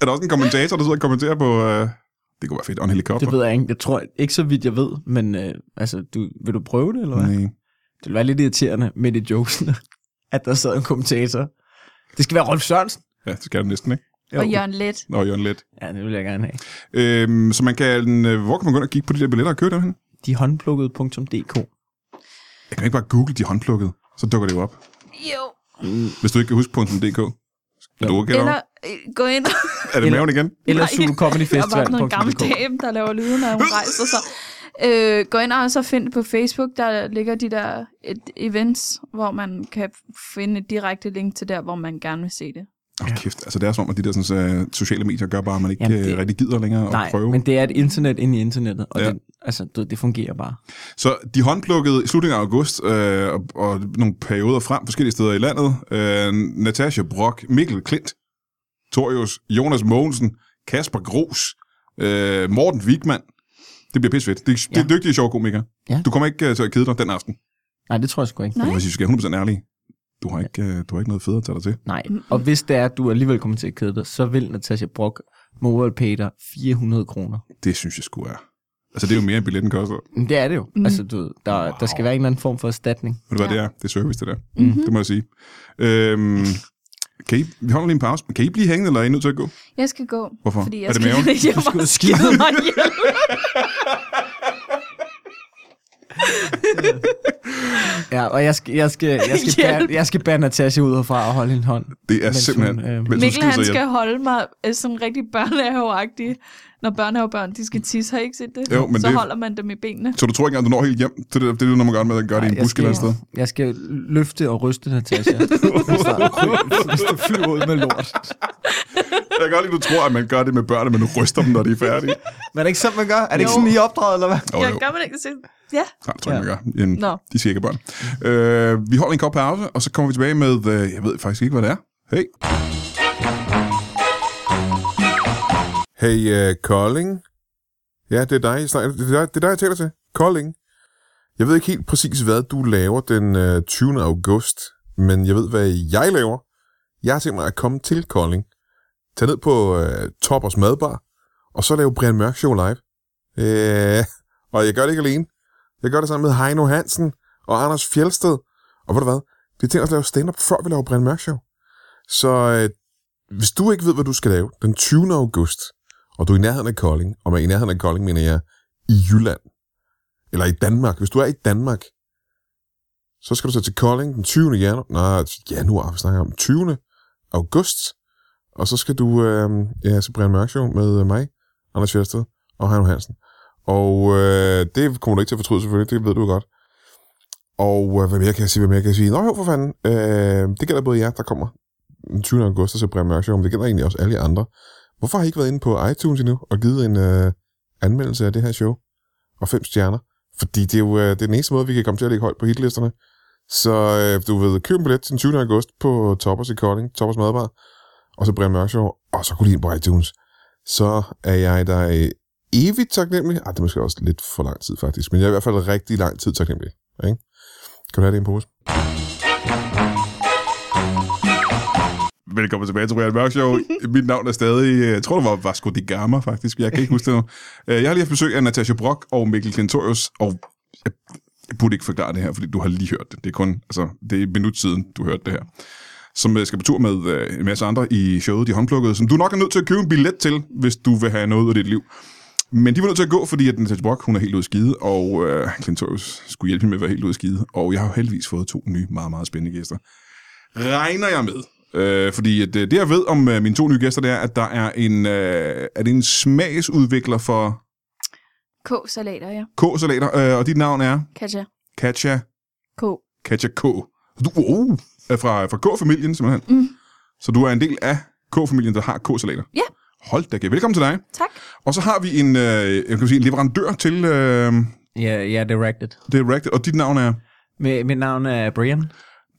Speaker 1: er der også en kommentator, der sidder og kommenterer på... Øh, det kunne være fedt. Og en helikopter.
Speaker 4: Det ved jeg ikke. Jeg tror ikke så vidt, jeg ved. Men øh, altså, du, vil du prøve det, eller hvad?
Speaker 1: Nej.
Speaker 4: Det ville være lidt irriterende midt i jokesene, at der sad en kommentator. Det skal være Rolf Sørensen.
Speaker 1: Ja, det skal det næsten, ikke?
Speaker 4: Jo.
Speaker 3: Og Jørgen Let.
Speaker 1: Nå, Jørgen Let.
Speaker 4: Ja, det vil jeg gerne have.
Speaker 1: Øhm, så man kan... øh, Hvor kan man gå ind og kigge på de der billetter og købe dem hen?
Speaker 4: De håndplukkede.dk.
Speaker 1: Jeg kan ikke bare google de håndplukkede. Så dukker det jo op.
Speaker 3: Jo.
Speaker 1: Hvis du ikke kan huske .dk. Skal du okay
Speaker 3: Eller øh, gå ind og...
Speaker 1: Er det
Speaker 4: eller-
Speaker 1: maven igen?
Speaker 4: Eller
Speaker 3: Nej. Der var bare en gammel
Speaker 4: zulucomedyfestival.dk.
Speaker 3: dame, der laver lyde, når hun rejser sig. Øh, gå ind og så find på Facebook, der ligger de der et, events, hvor man kan finde et direkte link til der, hvor man gerne vil se det.
Speaker 1: Åh, oh, kæft. Altså, det er som om, at de der sådan, uh, sociale medier gør bare, at man ikke
Speaker 4: Jamen,
Speaker 1: Jamen,
Speaker 4: det-
Speaker 1: det... rigtig gider længere at
Speaker 4: Nej,
Speaker 1: prøve.
Speaker 4: men det er et internet ind i internettet, og
Speaker 1: Ja.
Speaker 4: ja. det, altså, du ved, det fungerer bare.
Speaker 1: Så de håndplukkede i slutningen af august øh, og, og nogle perioder frem forskellige steder i landet. Øh, Natasha Brock, Mikkel Klint, Torius, Jonas Mogensen, Kasper Gros, øh, Morten Wigman. Det bliver pissefedt. Det, det er dygtige, sjove komikere.
Speaker 4: Ja.
Speaker 1: Du kommer ikke øh, til at kede dig den aften.
Speaker 4: Nej, det tror jeg sgu ikke.
Speaker 3: Nej.
Speaker 1: Nej. Hvis vi skal være 100% ærlige, du har ikke, øh, du har ikke noget federe at tage dig til.
Speaker 4: Nej. Og hvis det er, at du alligevel kommer til at kede dig, så vil Natasha Brock mobile pay dig 400 kroner.
Speaker 1: Det synes jeg sgu er. Altså, det er jo mere, end billetten koster. Ved
Speaker 4: Men Det er det jo. Mm. Altså, du ved, der, wow. der skal være en eller anden form for erstatning.
Speaker 1: du, hvad
Speaker 3: Ja. Mhm.
Speaker 1: det er? Det er service, det der. Mm-hmm. Det må jeg sige. Øhm, kan I, vi holder lige en pause. Kan I blive hængende, eller er I nødt til at gå?
Speaker 3: Jeg skal gå.
Speaker 1: Hvorfor?
Speaker 3: Fordi jeg
Speaker 1: Er det
Speaker 3: skal
Speaker 1: maven?
Speaker 3: Jeg
Speaker 4: Du skal ud
Speaker 3: bare
Speaker 4: og skide.
Speaker 3: skide mig ihjel.
Speaker 4: Ja, og jeg skal, jeg skal, jeg skal,
Speaker 3: Hjælp.
Speaker 4: bære, jeg skal bære Natasha ud herfra og holde en hånd.
Speaker 1: Det er
Speaker 4: Mens
Speaker 1: simpelthen...
Speaker 4: hun, øh,
Speaker 1: mens hun
Speaker 3: Mikkel,
Speaker 1: skider sig
Speaker 3: han
Speaker 1: ihjel.
Speaker 3: skal holde mig øh, sådan rigtig børnehaveagtig. Når børnehavebørn, de skal tisse, har I ikke set det?
Speaker 1: Jo, men
Speaker 3: så
Speaker 1: det-
Speaker 3: holder man dem i benene.
Speaker 1: Så du tror ikke engang, du når helt hjem? Det er det, det, er det når man gør med, at gøre det i en
Speaker 4: jeg
Speaker 1: busk eller et sted.
Speaker 4: skal, jeg skal løfte og ryste Natasha. Hvis der- Hvis du flyver ud med lort.
Speaker 1: Jeg kan godt lide, du tror, at man gør det med børn, men du ryster dem, når de er færdige.
Speaker 2: Men er det ikke sådan, man gør? Er det ikke
Speaker 3: Jo.
Speaker 2: sådan, I er opdraget, eller hvad?
Speaker 1: Jo,
Speaker 3: jeg
Speaker 1: jo.
Speaker 3: gør man ikke sådan. Ja,
Speaker 1: Nej, det tror jeg, man gør. En,
Speaker 3: Nå.
Speaker 1: de siger ikke børn. Øh, vi holder en kort pause, og så kommer vi tilbage med... Øh, jeg ved faktisk ikke, hvad det er. Hey.
Speaker 5: Hey, uh, Kolding? Ja, det er dig, jeg snakker, det, er dig, det er dig, jeg taler til. Kolding. Jeg ved ikke helt præcis, hvad du laver den øh, 20. august, men jeg ved, hvad jeg laver. Jeg har tænkt mig at komme til Kolding, tage ned på øh, Toppers Madbar, og så lave Brian Mørk Show live. Øh, og jeg gør det ikke alene. Jeg gør det sammen med Heino Hansen og Anders Fjelsted. Og ved du hvad? Vi tænker os at lave stand-up, før vi laver Brian Mørk Show. Så øh, hvis du ikke ved, hvad du skal lave den 20. august, og du er i nærheden af Kolding, og med i nærheden af Kolding mener jeg i Jylland, eller i Danmark, hvis du er i Danmark, så skal du så til Kolding den 20. januar, nej, januar, vi snakker om 20. august, og så skal du øh, ja, se Brian Mørk Show med øh, mig, Anders Fjersted og Heino Hansen. Og øh, det kommer du ikke til at fortryde selvfølgelig, det ved du godt. Og øh, hvad mere kan jeg sige, hvad mere kan jeg sige? Nå jo, for fanden, øh, det gælder både jer, der kommer den 20. august, og så Brian Mørk Show, men det gælder egentlig også alle jer andre. Hvorfor har I ikke været inde på iTunes endnu og givet en øh, anmeldelse af det her show? Og fem stjerner. Fordi det er jo øh, det er den eneste måde, vi kan komme til at ligge højt på hitlisterne. Så øh, du ved, køb en billet til den 20. august på Toppers i Kolding, Toppers Madbar, og så Brian Mørk Show, og så gå lige ind på iTunes. Så er jeg dig evigt taknemmelig. Ej, det er måske også lidt for lang tid faktisk, men jeg er i hvert fald rigtig lang tid taknemmelig. Ikke? Kan du have det i en pose?
Speaker 1: Velkommen tilbage til Brian Mørk Show. Mit navn er stadig, øh, jeg tror det var Vasco de Gama faktisk, jeg kan ikke huske det nu. Øh, Jeg har lige haft besøg af Natasha Brock og Mikkel Klintorius, og jeg, jeg burde ikke forklare det her, fordi du har lige hørt det. Det er kun, altså, det er et minut siden, du hørte det her. Som øh, skal på tur med øh, en masse andre i showet, de håndplukkede, som du nok er nødt til at købe en billet til, hvis du vil have noget af dit liv. Men de var nødt til at gå, fordi at Natasha Brock, hun er helt ude at skide, og øh, Klintorius skulle hjælpe hende med at være helt ude at skide. Og jeg har jo heldigvis fået to nye, meget, meget spændende gæster regner jeg med. Øh, fordi at, øh, det, jeg ved om øh, mine to nye gæster, det er, at der er en, øh, er det en smagsudvikler for
Speaker 3: K-salater, ja.
Speaker 1: K-salater, øh, og dit navn er
Speaker 3: Katja.
Speaker 1: Katja,
Speaker 3: K.
Speaker 1: Katja K. Du oh, wow, er fra, fra K-familien, simpelthen. Mm. Så du er en del af K-familien, der har K-salater.
Speaker 3: Ja.
Speaker 1: Hold da, kæft. velkommen til dig.
Speaker 3: Tak.
Speaker 1: Og så har vi en, øh, jeg kan sige, en leverandør til øh,
Speaker 4: Ja, ja, directed.
Speaker 1: Directed, og dit navn er
Speaker 4: Med, mit navn er Brian.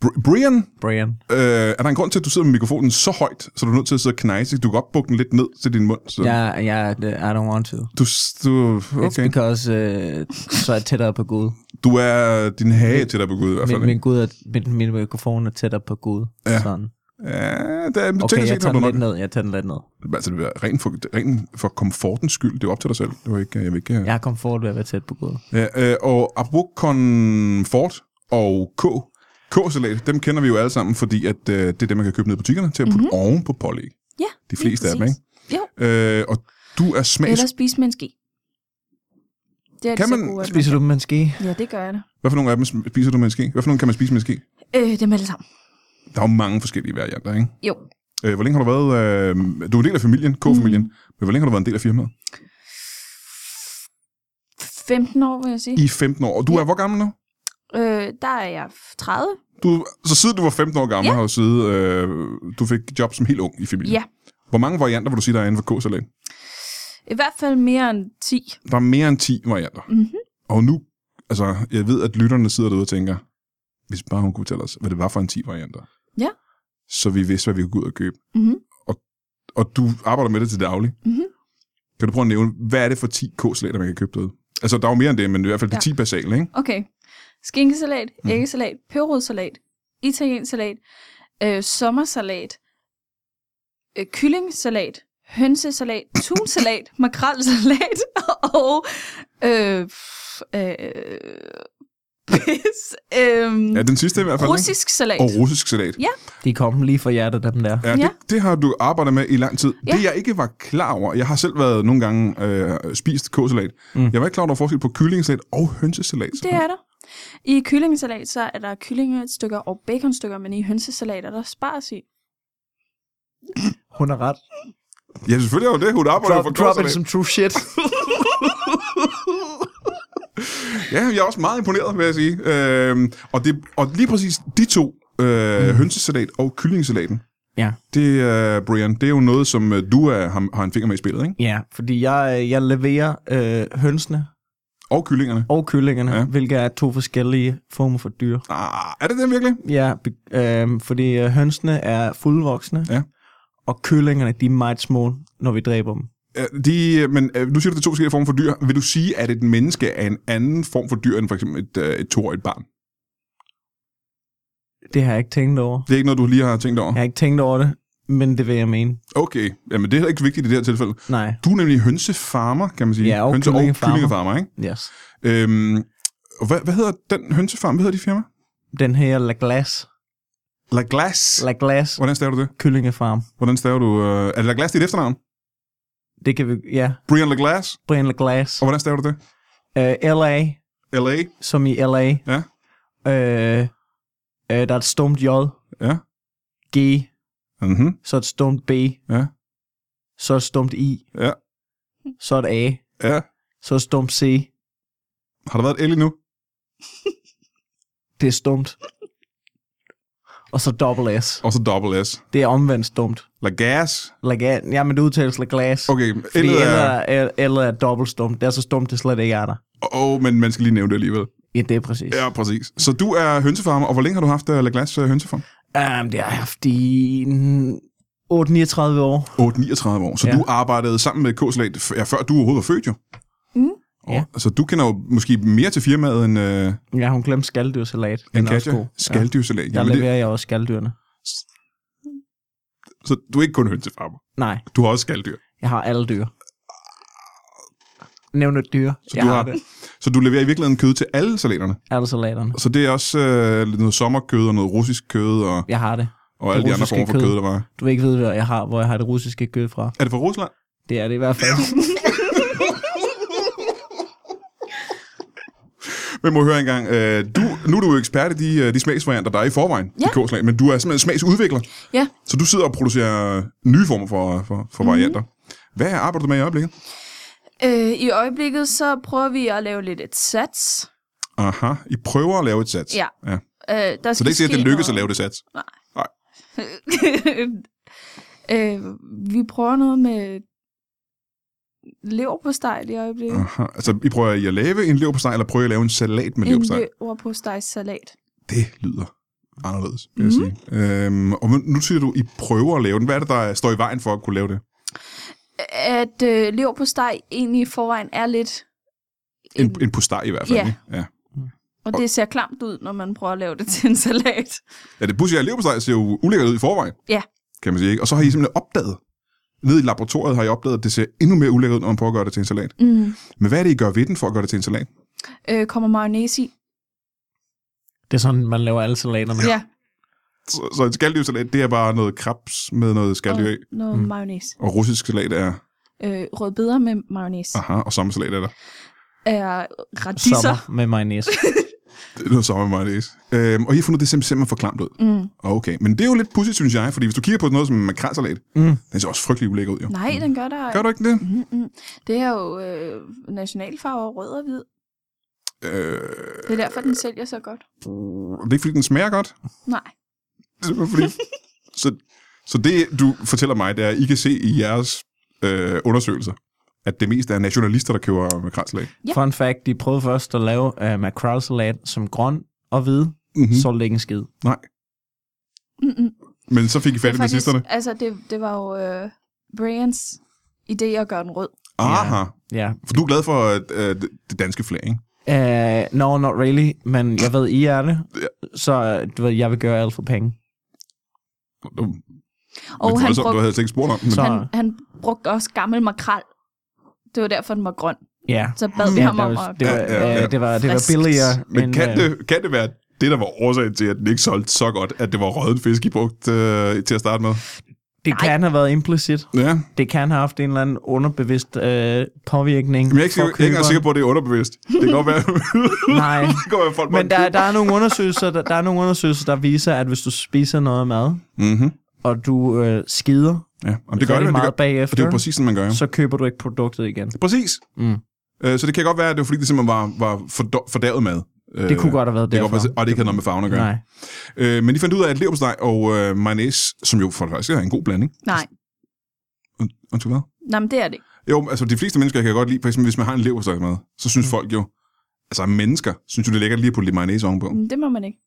Speaker 1: Br- Brian.
Speaker 4: Brian.
Speaker 1: Øh, er der en grund til, at du sidder med mikrofonen så højt, så du er nødt til at sidde og knejse? Du kan godt bukke den lidt ned til din mund. Så
Speaker 4: Ja, ja, I don't want to.
Speaker 1: du, du,
Speaker 4: It's
Speaker 1: okay.
Speaker 4: because, uh, så er jeg tættere på Gud.
Speaker 1: du er din hage til dig på Gud i hvert fald.
Speaker 4: Min,
Speaker 1: ikke?
Speaker 4: min, Gud er, min, min mikrofon er tættere på Gud.
Speaker 1: Ja.
Speaker 4: Sådan.
Speaker 1: Ja, det er,
Speaker 4: Okay, jeg tager
Speaker 1: du
Speaker 4: den
Speaker 1: nok.
Speaker 4: lidt ned. Jeg tager den lidt ned.
Speaker 1: Altså, det er rent for, rent for komfortens skyld. Det er jo op til dig selv. Det var ikke, jeg vil ikke...
Speaker 4: Jeg har komfort ved at være tæt på Gud.
Speaker 1: Ja, øh, og apropos Comfort og K, K-salat, dem kender vi jo alle sammen, fordi at, øh, det er dem, man kan købe ned i butikkerne til at putte
Speaker 4: Mhm.
Speaker 1: mm-hmm. oven på pålæg.
Speaker 3: Ja,
Speaker 1: De
Speaker 3: lige
Speaker 1: fleste af dem,
Speaker 3: præcis.
Speaker 1: ikke? Øh, og du er
Speaker 3: Jo,
Speaker 1: smags...
Speaker 3: eller spise med en ske. Det er
Speaker 1: Kan
Speaker 3: det så
Speaker 1: man
Speaker 3: gode, at
Speaker 4: Spiser du dem med en ske?
Speaker 3: kan. Ja, det gør jeg da.
Speaker 1: Hvad for nogle af dem spiser du med en ske? Hvad for nogle kan man spise med en ske?
Speaker 3: Øh, dem alle sammen.
Speaker 1: Der er jo mange forskellige varianter, ikke?
Speaker 3: Jo.
Speaker 1: Øh, hvor længe har du været... Øh, du er en del af familien, K-familien,
Speaker 4: Mhm.
Speaker 1: mm. men hvor længe har du været en del af firmaet?
Speaker 3: 15 år, vil jeg sige.
Speaker 1: I 15 år. Og du er hvor gammel nu?
Speaker 3: Øh, der er jeg 30.
Speaker 1: Du, så siden du var 15 år gammel, ja.
Speaker 3: Ja.
Speaker 1: har du siddet, øh, du fik job som helt ung i familien.
Speaker 3: Ja.
Speaker 1: Hvor mange varianter vil du sige, der er inden for K-salat?
Speaker 3: I hvert fald mere end 10.
Speaker 1: Der er mere end 10 varianter.
Speaker 3: Mhm.
Speaker 1: Og nu, altså, jeg ved, at lytterne sidder derude og tænker, hvis bare hun kunne fortælle os, hvad det var for en 10 varianter.
Speaker 3: Ja.
Speaker 1: Så vi vidste, hvad vi kunne gå ud og købe.
Speaker 3: Mhm.
Speaker 1: Og, og du arbejder med det til daglig.
Speaker 3: Mhm.
Speaker 1: Kan du prøve at nævne, hvad er det for 10 k-salater, man kan købe derude? Altså, der er jo mere end det, men i hvert fald de
Speaker 3: Ja.
Speaker 1: 10 basale, ikke?
Speaker 3: Okay. Skinkesalat,
Speaker 1: Mm.
Speaker 3: æggesalat, peberrodsalat, italiensalat, øh, sommersalat, øh, kyllingsalat, hønsesalat, tunsalat, makrelsalat og øh, f- øh, pis, øh,
Speaker 1: Ja, den sidste i hvert fald,
Speaker 3: russisk salat.
Speaker 1: ikke? Og russisk salat.
Speaker 4: De kom lige fra hjertet, dem der.
Speaker 1: Ja, ja.
Speaker 3: Ja.
Speaker 1: Det, det har du arbejdet med i lang tid. Ja.
Speaker 3: Ja.
Speaker 1: Det jeg ikke var klar over, jeg har selv været nogle gange øh, spist kåsalat. Mm.
Speaker 4: Mm.
Speaker 1: Jeg var ikke klar over forskel på kyllingsalat og hønsesalat.
Speaker 3: Det er der. I kyllingesalat, så er der kyllingestykker og baconstykker, men i hønsesalat er der spars i.
Speaker 4: Hun har ret.
Speaker 1: Ja, selvfølgelig er jo det. Hun arbejder
Speaker 2: Drop,
Speaker 1: for
Speaker 2: drop it
Speaker 1: kåsalat.
Speaker 2: som true shit.
Speaker 1: Ja, jeg er også meget imponeret, vil jeg sige. Øhm, og, det, og lige præcis de to, øh, mm. hønsesalat og kyllingesalaten,
Speaker 4: Ja.
Speaker 1: det, øh, Brian, det er jo noget, som øh, du er, har, har en finger med i spillet, ikke?
Speaker 4: Ja, fordi jeg, jeg leverer øh, hønsene
Speaker 1: Og kyllingerne.
Speaker 4: og kyllingerne,
Speaker 1: Ja.
Speaker 4: ja. hvilket er to forskellige former for dyr.
Speaker 1: Ah, er det det virkelig?
Speaker 4: Ja, be- øh, fordi øh, hønsene er fuldvoksne,
Speaker 1: Ja. og
Speaker 4: og kyllingerne de er meget små, når vi dræber dem.
Speaker 1: Øh, De, øh, men øh, nu siger du, det er to forskellige former for dyr. Vil du sige, at et menneske er en anden form for dyr, end for eksempel et, øh, et to og et barn?
Speaker 4: Det har jeg ikke tænkt over.
Speaker 1: Det er ikke noget, du lige har tænkt over?
Speaker 4: Jeg har ikke tænkt over det, men det vil jeg mene.
Speaker 1: Okay, jamen det er heller ikke vigtigt i det her tilfælde.
Speaker 4: Nej,
Speaker 1: Du er nemlig hønsefarmer, kan man sige.
Speaker 4: Ja, og
Speaker 1: Hønse- og
Speaker 4: kyllingefarmer.
Speaker 1: kyllingefarmer, ikke?
Speaker 4: yes.
Speaker 1: Øhm, og hvad, hvad hedder den hønsefarm? Hvad hedder de firma?
Speaker 4: Den her La Glass,
Speaker 1: La Glass.
Speaker 4: La Glass
Speaker 1: Hvordan staver du det?
Speaker 4: kyllingefarm,
Speaker 1: Hvordan staver du... Øh, er det La Glass dit efternavn?
Speaker 4: det kan vi, ja,
Speaker 1: Brian La Glass.
Speaker 4: Brian La Glass.
Speaker 1: Og hvordan staver du det?
Speaker 4: Øh, L.A.,
Speaker 1: L.A.
Speaker 4: som i L.A.
Speaker 1: Ja.
Speaker 4: Øh, øh, der er et stumt J,
Speaker 1: Ja.
Speaker 4: G,
Speaker 1: Mm-hmm.
Speaker 4: så et stumt B,
Speaker 1: Ja.
Speaker 4: så et stumt I,
Speaker 1: Ja.
Speaker 4: så et A,
Speaker 1: Ja.
Speaker 4: så et stumt C.
Speaker 1: Har der været et L endnu?
Speaker 4: Det er stumt. Og så dobbelt S.
Speaker 1: Og så double S.
Speaker 4: Det er omvendt stumt.
Speaker 1: La Gas.
Speaker 4: Like, ja, men det udtales like glass.
Speaker 1: Okay, L
Speaker 4: Fordi eller,
Speaker 1: er...
Speaker 4: er, eller er dobbelt stumt. Det er så stumt, det slet ikke er der.
Speaker 1: Åh, oh, men man skal lige nævne det alligevel.
Speaker 4: Ja, det er præcis.
Speaker 1: Ja, præcis. Så du er hønsefarmer, og hvor længe har du haft øh, La Glass øh, hønsefarm?
Speaker 4: Um, det har jeg haft i mm, 8-39 år.
Speaker 1: 8-39 år. Så ja.
Speaker 4: Ja.
Speaker 1: du arbejdede sammen med K-Salat, f- ja, før du overhovedet var født jo.
Speaker 3: Mm.
Speaker 1: Og,
Speaker 4: Ja.
Speaker 1: Så du kender jo måske mere til firmaet end, øh,
Speaker 4: Ja, hun glemte skaldyrsalat. Den
Speaker 1: end
Speaker 4: er også
Speaker 1: Katja.
Speaker 4: god. Ja.
Speaker 1: Skaldyrsalat. Ja.
Speaker 4: Der
Speaker 1: Jamen, det,
Speaker 4: leverer jeg også skaldyrene.
Speaker 1: så du er ikke kun hønsefarmer.
Speaker 4: Nej,
Speaker 1: Du har også skalddyr.
Speaker 4: jeg har alle dyr. Nævn et dyr.
Speaker 1: Så,
Speaker 4: jeg
Speaker 1: du har,
Speaker 4: det.
Speaker 1: så du leverer i virkeligheden kød til alle salaterne.
Speaker 4: Alle salaterne.
Speaker 1: Så det er også øh, lidt noget sommerkød og noget russisk kød og,
Speaker 4: Jeg har det.
Speaker 1: og alle de andre
Speaker 4: russiske
Speaker 1: former for
Speaker 4: kød.
Speaker 1: kød, der var.
Speaker 4: Du vil ikke vide, hvor jeg har, hvor jeg har det russiske kød fra.
Speaker 1: Er det fra Rusland?
Speaker 4: Det er det i hvert fald.
Speaker 1: Men må høre engang, øh, du, nu er du jo ekspert i de, øh, de smagsvarianter, der er i forvejen ja.
Speaker 3: Ja.
Speaker 1: i K-slag, men du er simpelthen smagsudvikler.
Speaker 3: Ja.
Speaker 1: Så du sidder og producerer nye former for, for, for varianter.
Speaker 3: Mm.
Speaker 1: Hvad arbejder du med i øjeblikket?
Speaker 3: Øh, I øjeblikket, så prøver vi at lave lidt et sats.
Speaker 1: Aha, I prøver at lave et sats.
Speaker 3: Ja.
Speaker 1: ja.
Speaker 3: Øh, der
Speaker 1: Så det er ikke sikkert, at det lykkes at lave det sats.
Speaker 3: øh, vi prøver noget med leverpostej lige i øjeblikket.
Speaker 1: Aha. Altså, I prøver I at lave en leverpostej, eller prøver I at lave en salat med
Speaker 3: en
Speaker 1: leverpostej?
Speaker 3: leverpostejssalat.
Speaker 1: Det lyder anderledes, vil jeg
Speaker 3: Mhm.
Speaker 1: sige. Øhm, og nu siger du, I prøver at lave den. Hvad er det, der står i vejen for at kunne lave det?
Speaker 3: At øh, leverpostej egentlig i forvejen er lidt...
Speaker 1: En, en postej i hvert fald,
Speaker 3: Ja.
Speaker 1: ikke? ja.
Speaker 3: og det ser klamt ud, når man prøver at lave det til en salat.
Speaker 1: Ja, det pudsige er, at leverpostej ser jo ulækkert ud i forvejen.
Speaker 3: Ja.
Speaker 1: Kan man sige, ikke? Og så har I simpelthen opdaget, nede i laboratoriet har I opdaget, at det ser endnu mere ulækkert ud, når man prøver at gøre det til en salat.
Speaker 3: Mm.
Speaker 1: Men hvad er det, I gør ved den for at gøre det til en salat?
Speaker 3: Øh, kommer mayonnaise i.
Speaker 6: Det er sådan, man laver alle salaterne.
Speaker 3: Ja,
Speaker 1: Så, så en skaldyrsalat, det er bare noget krebs med noget skalddyr i.
Speaker 3: og noget mm. mayonnaise.
Speaker 1: Og russisk salat er,
Speaker 3: Øh, rødbeder med mayonnaise. Øh,
Speaker 1: aha, og sommersalat er der.
Speaker 3: Er radisser.
Speaker 4: Sommer med mayonnaise.
Speaker 1: Det er noget sommer mayonnaise. Øhm, og I har fundet det simpelthen, simpelthen for klamt ud.
Speaker 3: Mm.
Speaker 1: Okay, men det er jo lidt pudsigt, synes jeg, fordi hvis du kigger på noget som makrelsalat,
Speaker 4: Mm.
Speaker 1: den ser også frygtelig ulækker ud, jo.
Speaker 3: Nej, den gør der.
Speaker 1: Mm. Gør du ikke det?
Speaker 3: Mm-mm. Det er jo øh, nationalfarver rød og hvid.
Speaker 1: Øh,
Speaker 3: Det er derfor, den sælger så godt.
Speaker 1: det er ikke, fordi den smager godt.
Speaker 3: Nej.
Speaker 1: Det er simpelthen fordi... så, så det, du fortæller mig, det er, at I kan se i jeres øh, undersøgelser, at det mest er nationalister, der køber makrelsalat.
Speaker 3: Ja.
Speaker 4: Fun fact, de prøvede først at lave uh, makrelsalat som grøn og hvid.
Speaker 1: Mm-hmm.
Speaker 4: Mm. Så var det ikke en skid.
Speaker 3: Mm-mm.
Speaker 1: Men så fik I fat i nazisterne.
Speaker 3: altså, det, det var jo øh, Brians idé at gøre den rød.
Speaker 1: Aha.
Speaker 4: Ja.
Speaker 1: For du er glad for at, øh, det- det danske flag, ikke?
Speaker 4: Uh, no, not really, men jeg ved, I er det. Så øh, du ved, jeg vil gøre alt for penge.
Speaker 1: Du,
Speaker 3: Og
Speaker 1: det,
Speaker 3: han,
Speaker 1: han du
Speaker 3: brugte,
Speaker 1: havde jeg slet ikke spurgt om. Men,
Speaker 4: Så-
Speaker 3: han, han brugte også gammel makrel. Det var derfor, den var grøn.
Speaker 4: Ja.
Speaker 3: Så bad vi
Speaker 4: ja,
Speaker 3: ham
Speaker 4: det
Speaker 3: om
Speaker 4: var,
Speaker 3: at...
Speaker 4: det var,
Speaker 1: Ja, ja, ja.
Speaker 4: øh, det var, det var
Speaker 3: Friskt.
Speaker 4: billigere.
Speaker 1: men kan,
Speaker 4: øh,
Speaker 1: det, kan det være det, der var årsagen til, at den ikke solgte så godt, at det var rødden fisk, I brugte øh, til at starte med?
Speaker 4: det
Speaker 3: Nej.
Speaker 4: kan have været implicit.
Speaker 1: Ja,
Speaker 4: Det kan have haft en eller anden underbevidst øh, påvirkning.
Speaker 1: men jeg er ikke,
Speaker 4: for
Speaker 1: sikker, jeg er ikke engang sikker på, at det er underbevidst. Det kan godt være,
Speaker 4: køberen. Nej.
Speaker 1: det kan godt være at folk
Speaker 4: Men der, der, er nogle undersøgelser, der, der er nogle undersøgelser, der viser, at hvis du spiser noget mad,
Speaker 1: Mm-hmm.
Speaker 4: og du øh, skider
Speaker 1: Ja, Jamen, det gør det,
Speaker 4: rigtig
Speaker 1: men det,
Speaker 4: meget
Speaker 1: gør,
Speaker 4: bagefter,
Speaker 1: det er jo præcis, sådan man gør. Jo.
Speaker 4: så køber du ikke produktet igen.
Speaker 1: Præcis.
Speaker 4: Mm.
Speaker 1: Øh, Så det kan godt være, at det var fordi, det simpelthen var, var fordo- fordavet mad. Øh,
Speaker 4: Det kunne godt have været
Speaker 1: det kan
Speaker 4: derfor.
Speaker 1: godt være, og det ikke havde noget med farven at gøre.
Speaker 4: Nej.
Speaker 1: Øh, men de fandt ud af, at leverpostej og øh, mayonnaise, som jo for det faktisk er en god blanding.
Speaker 3: Nej,
Speaker 1: Und- Undskyld hvad?
Speaker 3: nej men det er det. ikke.
Speaker 1: Jo, altså de fleste mennesker kan godt lide, for eksempel hvis man har en leverpostejmad, så
Speaker 4: Mm.
Speaker 1: synes folk jo, altså mennesker, synes jo det er lækkert lige at putte lidt mayonnaise ovenpå.
Speaker 4: Mm,
Speaker 3: Men Det må man ikke.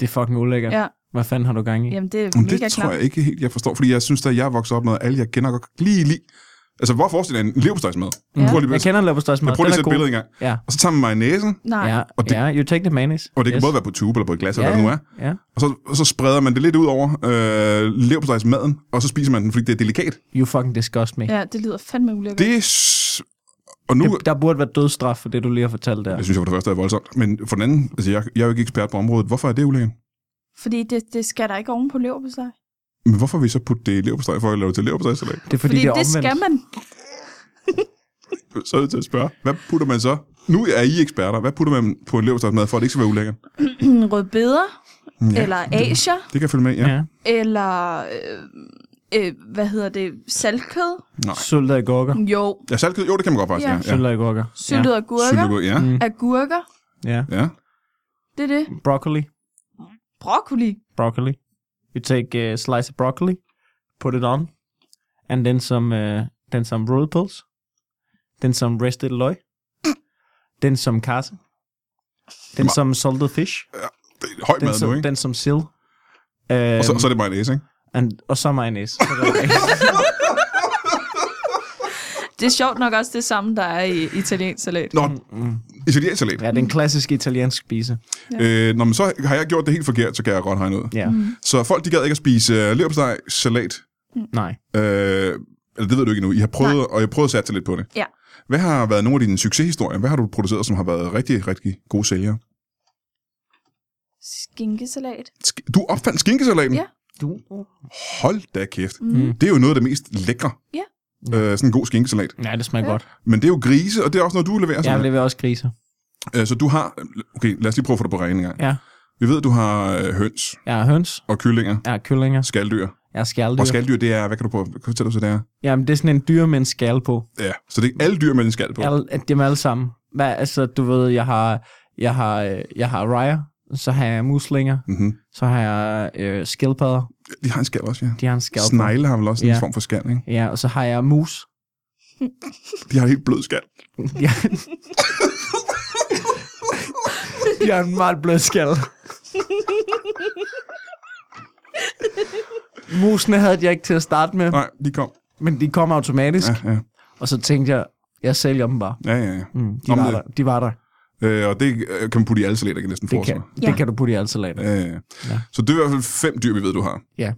Speaker 4: Det er fucking ulækkert.
Speaker 3: Ja.
Speaker 4: Hvad fanden har du gang i? Mm.
Speaker 3: Jamen, det er
Speaker 1: Men
Speaker 3: mega
Speaker 1: det tror
Speaker 3: klart.
Speaker 1: jeg ikke helt, jeg forstår, fordi jeg synes, at jeg er vokset op med, at alle jeg kender godt kan lige lide. Altså, hvor forestiller jeg en leverpostejsmad?
Speaker 4: Mm.
Speaker 1: Prøv lige,
Speaker 4: Jeg
Speaker 1: jeg,
Speaker 4: kender leverpostejsmad.
Speaker 1: jeg prøver lige at
Speaker 4: Den er
Speaker 1: sætte
Speaker 4: god.
Speaker 1: billedet en gang.
Speaker 4: Ja.
Speaker 1: Og så tager man mayonnaisen,
Speaker 3: Nej,
Speaker 4: Ja,
Speaker 1: Og det-
Speaker 4: ja, you take the mayonnaise.
Speaker 1: og det yes. kan både være på tube eller på et glas, eller
Speaker 4: Ja,
Speaker 1: hvad det nu er.
Speaker 4: Ja.
Speaker 1: Og så, og så spreder man det lidt ud over øh, leverpostejsmaden, og så spiser man den, fordi det er delikat.
Speaker 4: You fucking disgust me.
Speaker 3: ja, det lyder fandme ulækkert.
Speaker 1: Det er... s- Og nu,
Speaker 4: Det, der burde være dødsstraf for det, du lige har fortalt der.
Speaker 1: Jeg synes jo for det første er voldsomt, men for den anden, altså jeg, jeg er jo ikke ekspert på området. Hvorfor er det ulækkert?
Speaker 3: Fordi det, det skal der ikke oven på leverpostej. Fordi,
Speaker 1: Men hvorfor vil I så putte det i leverpostej for at lave det til leverpostejsalat?
Speaker 4: Det er fordi,
Speaker 3: Fordi
Speaker 4: det er
Speaker 3: det, det
Speaker 4: omvendt.
Speaker 3: skal man.
Speaker 1: Så er jeg til at spørge, hvad putter man så? Nu er I eksperter. Hvad putter man på en leverpostejsmad, for at det ikke skal være ulækkert? Mm,
Speaker 3: Rødbeder,
Speaker 1: Ja,
Speaker 3: ja, eller asier,
Speaker 1: Det kan jeg følge med, ja.
Speaker 4: Ja.
Speaker 1: ja.
Speaker 3: eller... Øh, øh, hvad hedder det? Saltkød?
Speaker 4: Syltede agurker.
Speaker 3: Jo.
Speaker 1: ja saltkød, jo, det kan man godt faktisk. Ja,
Speaker 3: Ja.
Speaker 1: ja.
Speaker 4: Syltede agurker.
Speaker 3: Syltede agurker.
Speaker 1: Syltekød, ja.
Speaker 4: Mm.
Speaker 3: Agurker.
Speaker 4: Ja.
Speaker 1: ja.
Speaker 3: Det er det.
Speaker 4: Broccoli.
Speaker 3: Broccoli.
Speaker 4: Broccoli. You take a slice of broccoli, put it on, and then some, uh, then some roll pulse, then some rested løg, then some kasse, then some salted fish,
Speaker 1: Høj
Speaker 4: then
Speaker 1: mad nu,
Speaker 4: some,
Speaker 1: ikke?
Speaker 4: then some sill, um,
Speaker 1: Og så, så er det mayonnaise, ikke?
Speaker 4: and, og så mayonnaise. Så er der-
Speaker 3: Det er sjovt nok også det samme, der er i italiensk salat.
Speaker 1: Nå, italiensk salat.
Speaker 4: Mm. ja, den klassiske italiensk spise.
Speaker 1: Øh, når man så har jeg gjort det helt forkert, så kan jeg godt regne ud.
Speaker 4: Ja,
Speaker 3: Mm.
Speaker 1: Så folk, de gad ikke at spise øh, leverpostej, salat,
Speaker 4: nej.
Speaker 1: Øh, eller det ved du ikke endnu. I har prøvet, og jeg har prøvet at satse lidt på det.
Speaker 3: Ja.
Speaker 1: Hvad har været nogle af dine succeshistorier? Hvad har du produceret, som har været rigtig, rigtig gode sælgere?
Speaker 3: Skinkesalat.
Speaker 1: Sk- Du opfandt skinkesalaten?
Speaker 3: Ja.
Speaker 4: Du,
Speaker 1: Hold da kæft.
Speaker 3: Mm.
Speaker 1: Det er jo noget af det mest lækre.
Speaker 3: Ja.
Speaker 1: Øh, sådan en god skinkesalat.
Speaker 4: nej, det smager
Speaker 3: Ja.
Speaker 4: godt.
Speaker 1: Men det er jo grise, og det er også noget, du leverer.
Speaker 4: Jeg
Speaker 1: Sådan
Speaker 4: leverer også griser.
Speaker 1: øh, så du har... Okay, lad os lige prøve at få det på rene en gang.
Speaker 4: Ja.
Speaker 1: Vi ved, du har øh, høns
Speaker 4: Jeg har høns,
Speaker 1: og kyllinger,
Speaker 4: jeg har kyllinger,
Speaker 1: skaldyr.
Speaker 4: jeg har skalddyr.
Speaker 1: Og skaldyr, det er... Hvad kan du på? Hvad fortæller du så, det er?
Speaker 4: Jamen, det er sådan en dyr med en skal på.
Speaker 1: Ja, så det er alle dyr med en skal på.
Speaker 4: Alle, dem alle sammen. Hvad, altså, du ved, jeg har, jeg har, øh, jeg har rejer, så har jeg muslinger,
Speaker 1: Mm-hmm.
Speaker 4: så har jeg øh, skildpadder,
Speaker 1: De har en skal også, ja.
Speaker 4: de har en skal på.
Speaker 1: Snegle har vel også en
Speaker 4: Ja.
Speaker 1: form for skal, ikke?
Speaker 4: Ja, og så har jeg mus,
Speaker 1: De har en helt blød skal.
Speaker 4: Ja. De har en meget blød skal. Musene havde jeg ikke til at starte med,
Speaker 1: Nej, de kom.
Speaker 4: men de kom automatisk.
Speaker 1: Ja, ja,
Speaker 4: Og så tænkte jeg, jeg sælger dem bare.
Speaker 1: ja. ja, ja.
Speaker 4: Mm, de,
Speaker 1: Om
Speaker 4: var
Speaker 1: det-
Speaker 4: der. de var der.
Speaker 1: Øh, og det øh, kan man putte i alle salater, kan jeg næsten
Speaker 4: Det kan,
Speaker 1: forestille mig.
Speaker 4: ja.
Speaker 3: Ja.
Speaker 4: det kan du putte i alle salater.
Speaker 1: Øh,
Speaker 6: Ja.
Speaker 1: Så det er i hvert fald fem dyr, vi ved, du har.
Speaker 4: Ja.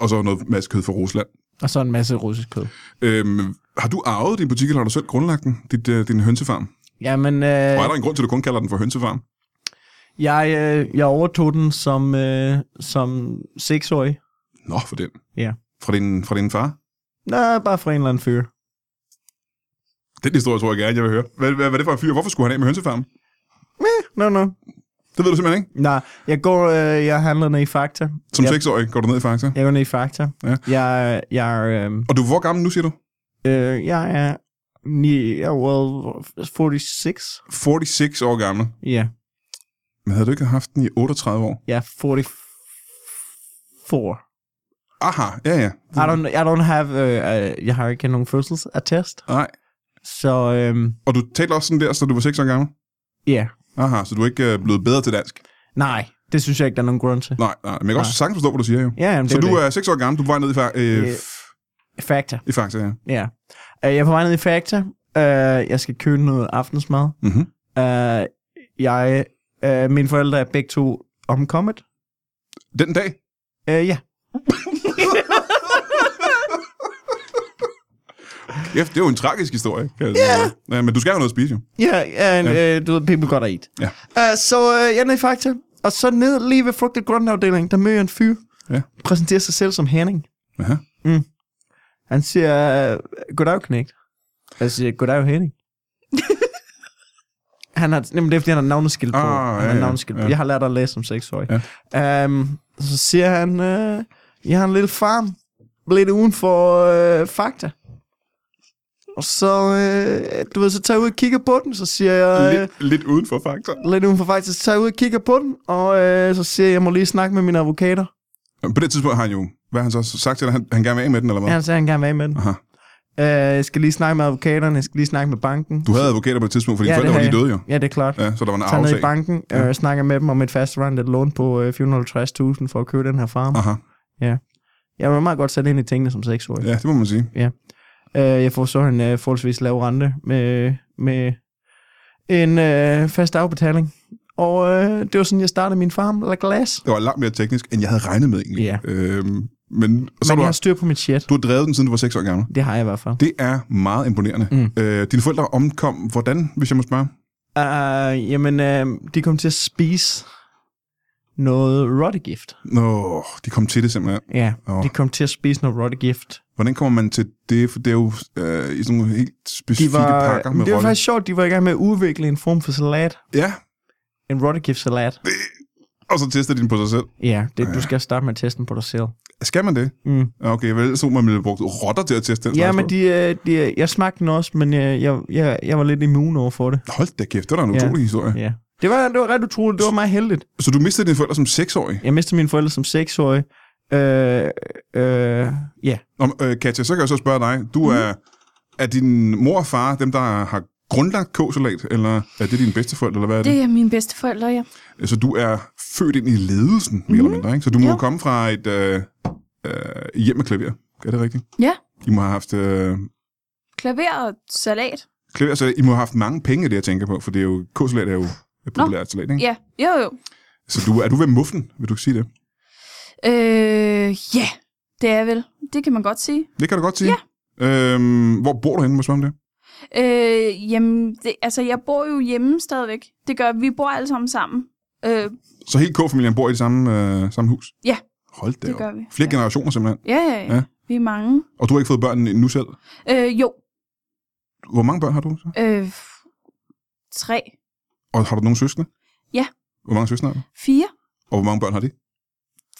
Speaker 1: Og så noget masse kød fra Rusland.
Speaker 4: Og så en masse russisk kød.
Speaker 1: Øhm, har du arvet din butik, eller har du selv grundlagt den, dit, øh, din hønsefarm?
Speaker 4: Jamen, øh,
Speaker 1: Og er der en grund til, at du kun kalder den for hønsefarm?
Speaker 4: jeg, øh, jeg overtog den som, øh, som seksårig.
Speaker 1: Nå, for den.
Speaker 4: Ja.
Speaker 1: Fra din, fra din far?
Speaker 4: Nej, bare fra en eller anden fyr.
Speaker 1: Den historie tror jeg gerne, jeg vil høre. Hvad, hvad, hvad er det for en fyr? Hvorfor skulle han af med hønsefarmen?
Speaker 4: Nå, nå.
Speaker 1: Det ved du simpelthen ikke.
Speaker 4: Nej, jeg går, øh, jeg handler ned i Fakta.
Speaker 1: Som
Speaker 4: jeg,
Speaker 1: seksårig går du ned i Fakta.
Speaker 4: jeg går ned i Fakta.
Speaker 1: Ja.
Speaker 4: Jeg, jeg, øh,
Speaker 1: Og du er hvor gammel nu, siger du?
Speaker 4: øh, jeg er ni, jeg er well, 46.
Speaker 1: 46 år gammel.
Speaker 4: Ja, yeah.
Speaker 1: Men havde du ikke haft den i 38 år?
Speaker 4: jeg er 44.
Speaker 1: Aha, ja, ja.
Speaker 4: I don't, I don't have, øh, øh, jeg har ikke nogen fødselsattest.
Speaker 1: Nej.
Speaker 4: Så øhm,
Speaker 1: Og du talte også sådan der, så du var 6 år gammel?
Speaker 4: ja, yeah.
Speaker 1: Aha, så du er ikke øh, blevet bedre til dansk?
Speaker 4: nej, det synes jeg ikke, der er nogen grund til.
Speaker 1: Nej, nej. Men jeg kan også sagtens forstå, hvad du siger, jo.
Speaker 4: Ja, jamen, det
Speaker 1: Så
Speaker 4: er
Speaker 1: du
Speaker 4: jo
Speaker 1: er 6 år gammel, du var ned i, fa- øh,
Speaker 4: Øh.
Speaker 1: f-
Speaker 4: det. Fakta,
Speaker 1: i Fakta, ja.
Speaker 4: ja. Øh, jeg er på vej ned i Fakta. Øh, jeg skal købe noget aftensmad.
Speaker 1: Mhm.
Speaker 4: Øh, jeg, øh, mine forældre er begge to omkommet.
Speaker 1: Den dag?
Speaker 4: Øh, ja,
Speaker 1: Ja, det er jo en tragisk historie. Kan jeg yeah. ja, men du skal have noget at spise, jo.
Speaker 4: Ja, ja, en,
Speaker 1: Ja.
Speaker 4: øh, du ved, people gotta eat.
Speaker 1: Ja.
Speaker 4: Uh, så øh, jeg er nede i Fakta, og så ned lige ved frugt- og grøntafdelingen, der møder jeg en fyr,
Speaker 1: Ja.
Speaker 4: præsenterer sig selv som Henning.
Speaker 1: Aha.
Speaker 4: Mm. Han siger, øh, goddag, knægt. Jeg siger, goddag, Henning. han har, jamen, det er, fordi han har navneskilt på.
Speaker 1: Ah,
Speaker 4: han
Speaker 1: ja,
Speaker 4: har
Speaker 1: ja,
Speaker 4: navneskilt på.
Speaker 1: ja.
Speaker 4: Jeg har lært at læse som seksårig. Ja. Um, så siger han, øh, jeg har en lille farm, lidt uden for øh, Fakta. Og så, øh, du ved, så tager jeg ud og kigger på den, så siger jeg... Øh,
Speaker 1: Lidt, lidt uden for Fakta.
Speaker 4: lidt uden for faktisk, så tager jeg ud og kigger på den, og øh, så siger jeg, jeg må lige snakke med mine advokater.
Speaker 1: På det tidspunkt har han jo, hvad har han så sagt til dig, han, han gerne vil af med den, eller hvad?
Speaker 4: Ja, han sagde, han gerne vil af med den.
Speaker 1: Aha.
Speaker 4: Øh, jeg skal lige snakke med advokaterne, jeg skal lige snakke med banken.
Speaker 1: Du havde advokater på det tidspunkt, for dine
Speaker 4: Ja,
Speaker 1: ja,
Speaker 4: det
Speaker 1: forældre var
Speaker 4: havde
Speaker 1: lige døde, jo.
Speaker 4: Ja, det er klart.
Speaker 1: Ja, så der var en
Speaker 4: Tag ned i
Speaker 1: aftale.
Speaker 4: banken, øh, snakker med dem om et fastrentet lån på øh, 450.000 for at købe den her farm.
Speaker 1: Aha,
Speaker 4: Jeg var meget godt sat ind i tingene som seksårig.
Speaker 1: ja, det må man sige.
Speaker 4: Øh, jeg får så en øh, forholdsvis lav rente med, med en øh, fast afbetaling. Og øh, det var sådan, jeg startede min farm, La Glass.
Speaker 1: Det var langt mere teknisk, end jeg havde regnet med egentlig.
Speaker 4: Ja.
Speaker 1: Øhm, men og så
Speaker 4: Men
Speaker 1: du,
Speaker 4: jeg har
Speaker 1: har,
Speaker 4: styr på mit shit.
Speaker 1: du har drevet den, siden du var 6 år gammel.
Speaker 4: Det har jeg i hvert fald.
Speaker 1: Det er meget imponerende.
Speaker 4: Mm.
Speaker 1: Øh, dine forældre omkom, hvordan, hvis jeg må spørge?
Speaker 4: Uh, jamen, uh, de kom til at spise noget rottegift.
Speaker 1: Nå, de kom til det simpelthen.
Speaker 4: Ja,
Speaker 1: Åh.
Speaker 4: oh. de kom til at spise noget rottegift.
Speaker 1: Hvordan kommer man til det? For det er jo øh, i sådan nogle helt
Speaker 4: De
Speaker 1: specifikke
Speaker 4: var,
Speaker 1: pakker med
Speaker 4: det var
Speaker 1: rolle.
Speaker 4: faktisk sjovt, de var i gang med at udvikle en form for salat.
Speaker 1: Ja,
Speaker 4: En rottegift-salat.
Speaker 1: og så tester de den på sig selv.
Speaker 4: Ja, det, du skal starte med at teste den på dig selv.
Speaker 1: Skal man det?
Speaker 4: Mm.
Speaker 1: Ja, Okay, vel, så man ville brugt rotter til at teste den.
Speaker 4: Ja,
Speaker 1: slags
Speaker 4: men
Speaker 1: på.
Speaker 4: de, øh, de, øh, jeg smagte den også, men øh, jeg, jeg, jeg, jeg var lidt immun over for det.
Speaker 1: Hold da kæft, det var da en
Speaker 4: Ja.
Speaker 1: utrolig historie.
Speaker 4: Ja. Det var, det var ret utroligt. Det var meget heldigt.
Speaker 1: Så du mistede dine forældre som 6-årig?
Speaker 4: Jeg mistede mine forældre som seksårig. Øh, øh, ja,
Speaker 1: Nå, men, øh, Katja, så kan jeg så spørge dig.
Speaker 4: Mhm.
Speaker 1: Du er, er din mor og far dem, der har grundlagt K-salat, eller er det dine bedsteforældre, eller hvad er det?
Speaker 3: Det er mine bedsteforældre, ja.
Speaker 1: det? Så du er født ind i ledelsen, mere eller mindre, ikke? Så du må
Speaker 3: Mhm. Ja.
Speaker 1: jo komme fra et øh, øh, hjem med klaver. Er det rigtigt?
Speaker 3: Ja.
Speaker 1: I må have haft... Øh,
Speaker 3: Klaver og salat.
Speaker 1: klaver, så I må have haft mange penge, af det jeg tænker på, for det er jo, K-salat er jo et
Speaker 3: Nå.
Speaker 1: populært salat, ikke?
Speaker 3: Ja, jo jo.
Speaker 1: Så du, er du ved muffen, vil du sige det?
Speaker 3: Øh, ja, det er jeg vel. Det kan man godt sige.
Speaker 1: Det kan du godt sige. Ja. Øhm, hvor bor du henne, må jeg spørge om det?
Speaker 3: Øh, jamen, det, altså, jeg bor jo hjemme stadigvæk. Det gør, vi bor alle sammen sammen. Øh,
Speaker 1: Så hele K-familien bor i det samme, øh, samme hus?
Speaker 3: Ja.
Speaker 1: Hold da
Speaker 3: Det
Speaker 1: op.
Speaker 3: gør vi,
Speaker 1: Flere
Speaker 3: ja.
Speaker 1: generationer simpelthen.
Speaker 3: ja, ja,
Speaker 1: Ja.
Speaker 3: ja. Vi er mange.
Speaker 1: Og du har ikke fået børn endnu selv.
Speaker 3: Øh, jo,
Speaker 1: Hvor mange børn har du så?
Speaker 3: øh, f- tre,
Speaker 1: Og har du nogen søskende?
Speaker 3: Ja.
Speaker 1: Hvor mange søskende har du?
Speaker 3: fire,
Speaker 1: Og hvor mange børn har de?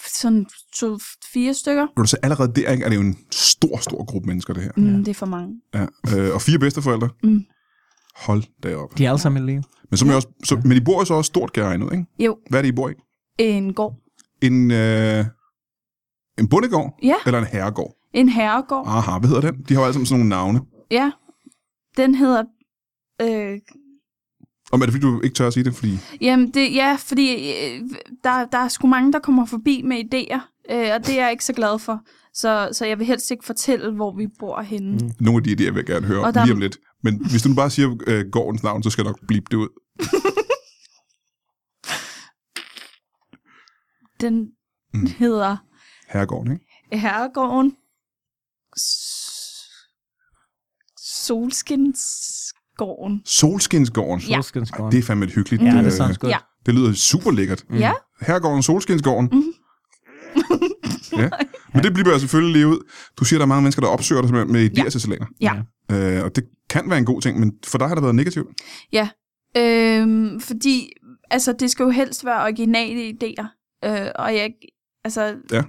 Speaker 3: sådan to, fire stykker.
Speaker 1: Når du så allerede der, ikke, er det jo en stor, stor gruppe mennesker, det her.
Speaker 3: Mm, Det er for mange.
Speaker 1: Ja. Øh, og fire bedsteforældre.
Speaker 3: Mm.
Speaker 1: Hold da op.
Speaker 4: de er alle sammen i live.
Speaker 1: Men, så må jeg også, så, men I bor jo så også stort, kan jeg regne ud, ikke?
Speaker 3: Jo,
Speaker 1: Hvad er det, I bor i?
Speaker 3: en gård.
Speaker 1: En, øh, en bondegård?
Speaker 3: Ja.
Speaker 1: Eller en herregård?
Speaker 3: En herregård.
Speaker 1: Aha, hvad hedder den? De har jo alle sammen sådan nogle navne.
Speaker 3: Ja, den hedder... Øh,
Speaker 1: Og er det fordi, du ikke tør at sige det? Fordi
Speaker 3: jamen, det, ja, fordi øh, der, der er sgu mange, der kommer forbi med idéer, øh, og det er jeg ikke så glad for. Så, så jeg vil helst ikke fortælle, hvor vi bor henne. Mm.
Speaker 1: nogle af de idéer vil jeg gerne høre om
Speaker 3: Og der-
Speaker 1: lige om lidt. Men hvis du nu bare siger øh, gårdens navn, så skal jeg nok blive det ud.
Speaker 3: Den
Speaker 1: Mm.
Speaker 3: hedder
Speaker 1: Herregården, ikke?
Speaker 3: Herregården. S- Solskinsgården.
Speaker 1: Solskinsgården.
Speaker 3: Ja.
Speaker 1: Ej, det er fandme et hyggeligt.
Speaker 7: ja,
Speaker 1: øh,
Speaker 7: det er sådan godt.
Speaker 3: Ja.
Speaker 1: det lyder super lækkert.
Speaker 3: Mm. Ja,
Speaker 1: Herregården, Solskinsgården.
Speaker 3: Mhm.
Speaker 1: ja. Men det bliver jeg selvfølgelig lige ud. Du siger, at der er mange mennesker, der opsøger dig simpelthen med idéer til salater.
Speaker 3: Ja.
Speaker 1: Øh, og det kan være en god ting, men for dig har det været negativt.
Speaker 3: øhm, fordi altså, det skal jo helst være originale idéer. Øh, og jeg, altså,
Speaker 1: Ja.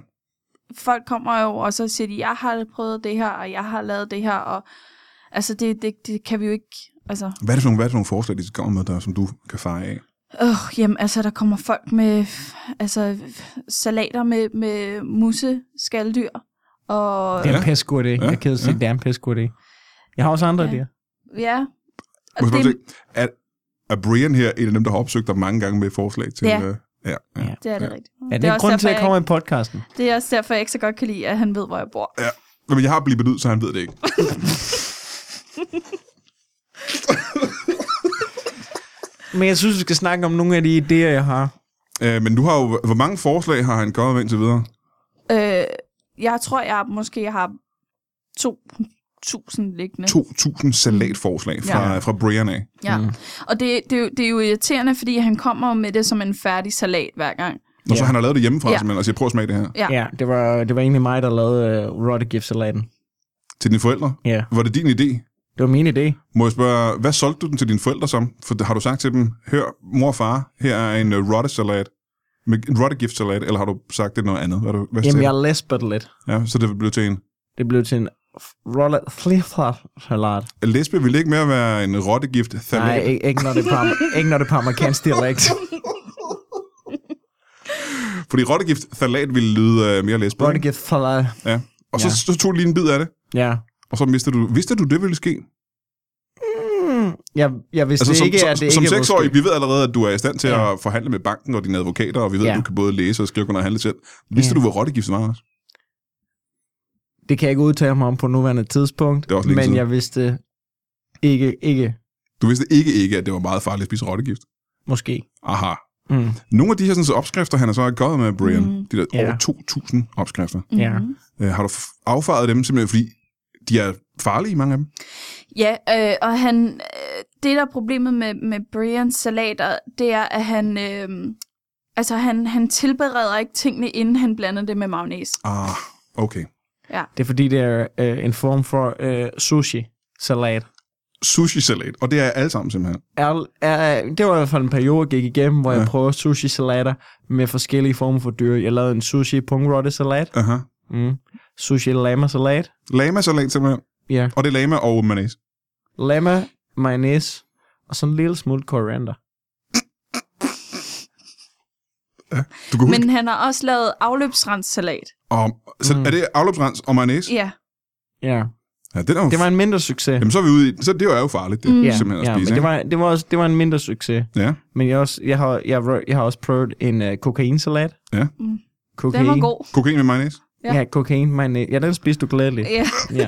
Speaker 3: folk kommer jo, og så siger de, jeg har prøvet det her, og jeg har lavet det her, og altså, det, det, det kan vi jo ikke, altså,
Speaker 1: Hvad er det for nogle, hvad er det for nogle forslag, de kommer med dig, som du kan fejre af?
Speaker 3: Øh, jamen, altså, der kommer folk med altså, salater med, med musse, skalddyr, og
Speaker 4: Det er en
Speaker 1: Ja.
Speaker 4: pæsgod idé.
Speaker 1: Ja,
Speaker 4: Jeg kan sige,
Speaker 1: ja.
Speaker 4: det er en pæsgod idé. Jeg har også andre
Speaker 3: Ja.
Speaker 4: idéer.
Speaker 3: ja. Og
Speaker 1: Må jeg
Speaker 3: det,
Speaker 1: det... er, er Brian her en af dem, der har opsøgt dig mange gange med forslag til...
Speaker 3: Ja.
Speaker 1: øh, ja, ja.
Speaker 4: Ja.
Speaker 3: det er det
Speaker 1: Ja.
Speaker 3: rigtigt.
Speaker 4: Ja, det
Speaker 3: det,
Speaker 4: er
Speaker 3: er
Speaker 4: en
Speaker 3: også
Speaker 4: grund til,
Speaker 3: derfor,
Speaker 4: at jeg
Speaker 3: jeg
Speaker 4: kommer i podcasten.
Speaker 3: ikke, det er også derfor, jeg ikke så godt kan lide, at han ved, hvor jeg bor.
Speaker 1: Nå, men jeg har blivet ud, så han ved det ikke.
Speaker 7: Men jeg synes, vi skal snakke om nogle af de idéer, jeg har.
Speaker 1: Øh, men du har jo... Hvor mange forslag har han kommet med indtil videre?
Speaker 3: Øh, jeg tror, jeg måske har 2.000 liggende.
Speaker 1: 2.000 salatforslag fra,
Speaker 3: Ja.
Speaker 1: fra Brian af.
Speaker 3: Ja. Mm. Og det, det, er jo- det er jo irriterende, fordi han kommer med det som en færdig salat hver gang.
Speaker 1: Og så
Speaker 4: Ja.
Speaker 1: han har lavet det hjemmefra,
Speaker 3: Ja.
Speaker 1: ja. simpelthen, og siger, prøv at smage det her.
Speaker 3: Ja.
Speaker 4: Ja, det var, det var egentlig mig, der lavede uh, Rotte Gift Salaten.
Speaker 1: Til dine forældre?
Speaker 4: Ja.
Speaker 1: Var det din idé?
Speaker 4: Det var min idé.
Speaker 1: Må jeg spørge, hvad solgte du den til dine forældre som? For har du sagt til dem, hør mor og far, her er en uh, rottesalat, med en rottegiftsalat, eller har du sagt det noget andet? Hvad, du, hvad
Speaker 4: Jamen,
Speaker 1: sagde
Speaker 4: jeg lespede lidt.
Speaker 1: du? ja, så det blev til en...
Speaker 4: Det blev til en f- Rolle Fliffer Salat.
Speaker 1: Lesbe ville ikke mere være en rottegift
Speaker 4: Nej,
Speaker 1: salat.
Speaker 4: ikke, ikke, når det er på, am- ikke når det er på amerikansk dialekt.
Speaker 1: Fordi rottegift salat ville lyde uh, mere lesbe.
Speaker 4: Rotte
Speaker 1: ikke?
Speaker 4: Gift Salat.
Speaker 1: Ja. Og så,
Speaker 4: Ja.
Speaker 1: så tog du lige en bid af det,
Speaker 4: Ja.
Speaker 1: og så vidste du, vidste du det ville ske? Altså,
Speaker 4: Jeg, jeg vidste
Speaker 1: som,
Speaker 4: ikke,
Speaker 1: som,
Speaker 4: at det
Speaker 1: som
Speaker 4: ikke var
Speaker 1: seksårig,
Speaker 4: sket.
Speaker 1: vi ved allerede, at du er i stand til
Speaker 4: Ja.
Speaker 1: at forhandle med banken og dine advokater, og vi ved,
Speaker 4: Ja.
Speaker 1: at du kan både læse og skrive og handle selv. Vidste
Speaker 4: Ja.
Speaker 1: du, hvad rottegift var? også?
Speaker 4: Det kan jeg ikke udtale mig om på nuværende tidspunkt,
Speaker 1: Det er også længe
Speaker 4: men
Speaker 1: siden.
Speaker 4: jeg vidste ikke, ikke,
Speaker 1: Du vidste ikke ikke, at det var meget farligt at spise rottegift.
Speaker 4: måske.
Speaker 1: Aha.
Speaker 4: Mm.
Speaker 1: Nogle af de her sådan, så opskrifter, han har så gået med, Brian,
Speaker 3: Mm.
Speaker 1: mm. de der
Speaker 4: Ja.
Speaker 1: over 2.000 opskrifter,
Speaker 4: Ja.
Speaker 3: Mhm.
Speaker 1: øh, har du f- affaret dem simpelthen, fordi de er farlige, mange af dem?
Speaker 3: Ja, øh, og han, øh, det der er problemet med, med Brians salater, det er, at han, øh, altså han, han tilbereder ikke tingene, inden han blander det med mayonnaise.
Speaker 1: Ah, okay.
Speaker 4: Det er fordi, det er øh, en form for øh, sushi-salat.
Speaker 1: Sushi-salat, og det er alle sammen simpelthen.
Speaker 4: Al- er- Det var i hvert fald en periode, jeg gik igennem, hvor ja. jeg
Speaker 1: Ja.
Speaker 4: prøvede sushi-salater med forskellige former for dyr. Jeg lavede en sushi pungrotte salat
Speaker 1: Aha.
Speaker 4: mm. sushi lama salat
Speaker 1: Lama-salat simpelthen.
Speaker 4: Ja.
Speaker 1: Og det er lama og mayonnaise.
Speaker 4: lama, mayonnaise og sådan en lille smule koriander.
Speaker 1: Du kan huske, Men...
Speaker 3: Men han har også lavet afløbsrenssalat.
Speaker 1: og, så
Speaker 4: Mm.
Speaker 1: er det afløbsrens og mayonnaise?
Speaker 3: Ja,
Speaker 4: Ja,
Speaker 1: Ja, den er jo...
Speaker 4: det var en mindre succes.
Speaker 1: Jamen, så er vi ude i... Så det er jo farligt, det,
Speaker 3: Mm.
Speaker 1: mm.
Speaker 4: Ja,
Speaker 1: simpelthen at
Speaker 4: ja
Speaker 1: spise,
Speaker 4: men det var, det, var også, det var en mindre succes.
Speaker 1: ikke? Ja.
Speaker 4: Men jeg, også, jeg, har, jeg, har- jeg har også prøvet en uh, kokainsalat.
Speaker 1: Ja.
Speaker 3: Mm.
Speaker 4: Kokain.
Speaker 3: den var god.
Speaker 1: Kokain med mayonnaise.
Speaker 3: Ja.
Speaker 4: Ja, ja kokain, mayonnaise. Ja, den spiste du glædeligt.
Speaker 3: Ja,
Speaker 4: Ja,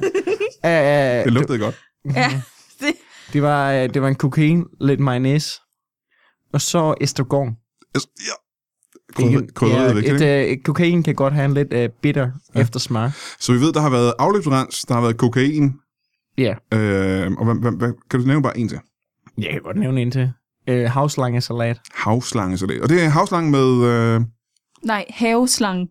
Speaker 4: ja, ja.
Speaker 1: Det lugtede godt.
Speaker 3: ja. Det,
Speaker 4: Det var, øh, det var en kokain, lidt mayonnaise, og så estragon.
Speaker 1: Altså, ja. Krydderiet krydderiet er vigtigt,
Speaker 4: et,
Speaker 1: ikke?
Speaker 4: øh, et, kokain kan godt have en lidt øh, bitter ja. eftersmag.
Speaker 1: Så vi ved, der har været afløbsrens, der har været kokain.
Speaker 4: Ja.
Speaker 1: Øh, og hvad, hvad, hvad, kan du nævne bare en til?
Speaker 4: Jeg kan godt nævne en til. Øh, havslangesalat.
Speaker 1: Havslangesalat. Og det er havslange med... Øh,
Speaker 3: nej, haveslange.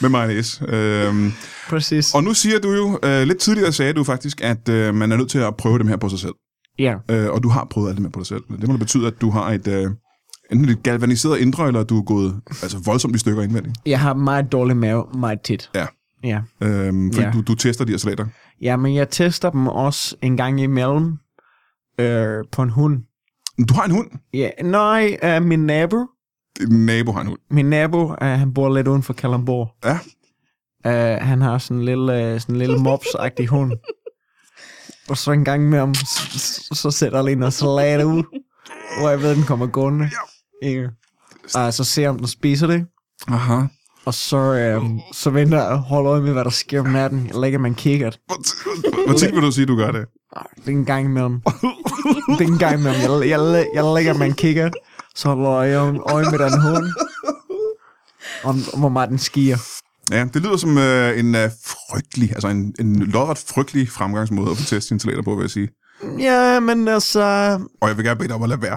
Speaker 1: med mayonnaise. Øhm,
Speaker 4: Præcis.
Speaker 1: og nu siger du jo, øh, lidt tidligere sagde du faktisk, at øh, man er nødt til at prøve dem her på sig selv.
Speaker 4: Ja,
Speaker 1: Øh, og du har prøvet alt det med på dig selv. Det må da betyde, at du har et... Øh, enten et galvaniseret indre, eller du er gået altså, voldsomt i stykker indvendigt.
Speaker 4: jeg har meget dårlig mave meget tit.
Speaker 1: Ja.
Speaker 4: Ja.
Speaker 1: Øhm, fordi
Speaker 4: Ja.
Speaker 1: ja. du, du tester de her salater.
Speaker 4: ja, men jeg tester dem også en gang imellem øh, på en hund.
Speaker 1: Du har en hund.
Speaker 4: Ja, nej, øh, min nabo,
Speaker 1: Din nabo har en hund.
Speaker 4: Min nabo, uh, han bor lidt uden for Kalamborg.
Speaker 1: Ja.
Speaker 4: Uh, han har sådan en lille, uh, sådan en lille mobs-agtig hund. Og så en gang med om, så, så sætter lige noget salat ud, hvor jeg ved, den kommer gående. Ja. Og så ser jeg, om den spiser det.
Speaker 1: Aha.
Speaker 4: Og så, øhm, så venter jeg og holder øje med, hvad der sker om natten. Jeg lægger mig en kikkert.
Speaker 1: Hvor, t- hvor tit vil du sige, du gør det?
Speaker 4: Det er en gang imellem. Det er en gang imellem. Jeg, jeg, læ- jeg lægger mig en kikkert. Så holder jeg øje med den hund. Om, om hvor meget den skier.
Speaker 1: Ja, det lyder som øh, en øh, frygtelig, altså en, en lodret frygtelig fremgangsmåde at få testet sine talater på, vil jeg sige.
Speaker 4: Ja, men altså...
Speaker 1: Og jeg vil gerne bede dig om at lade være.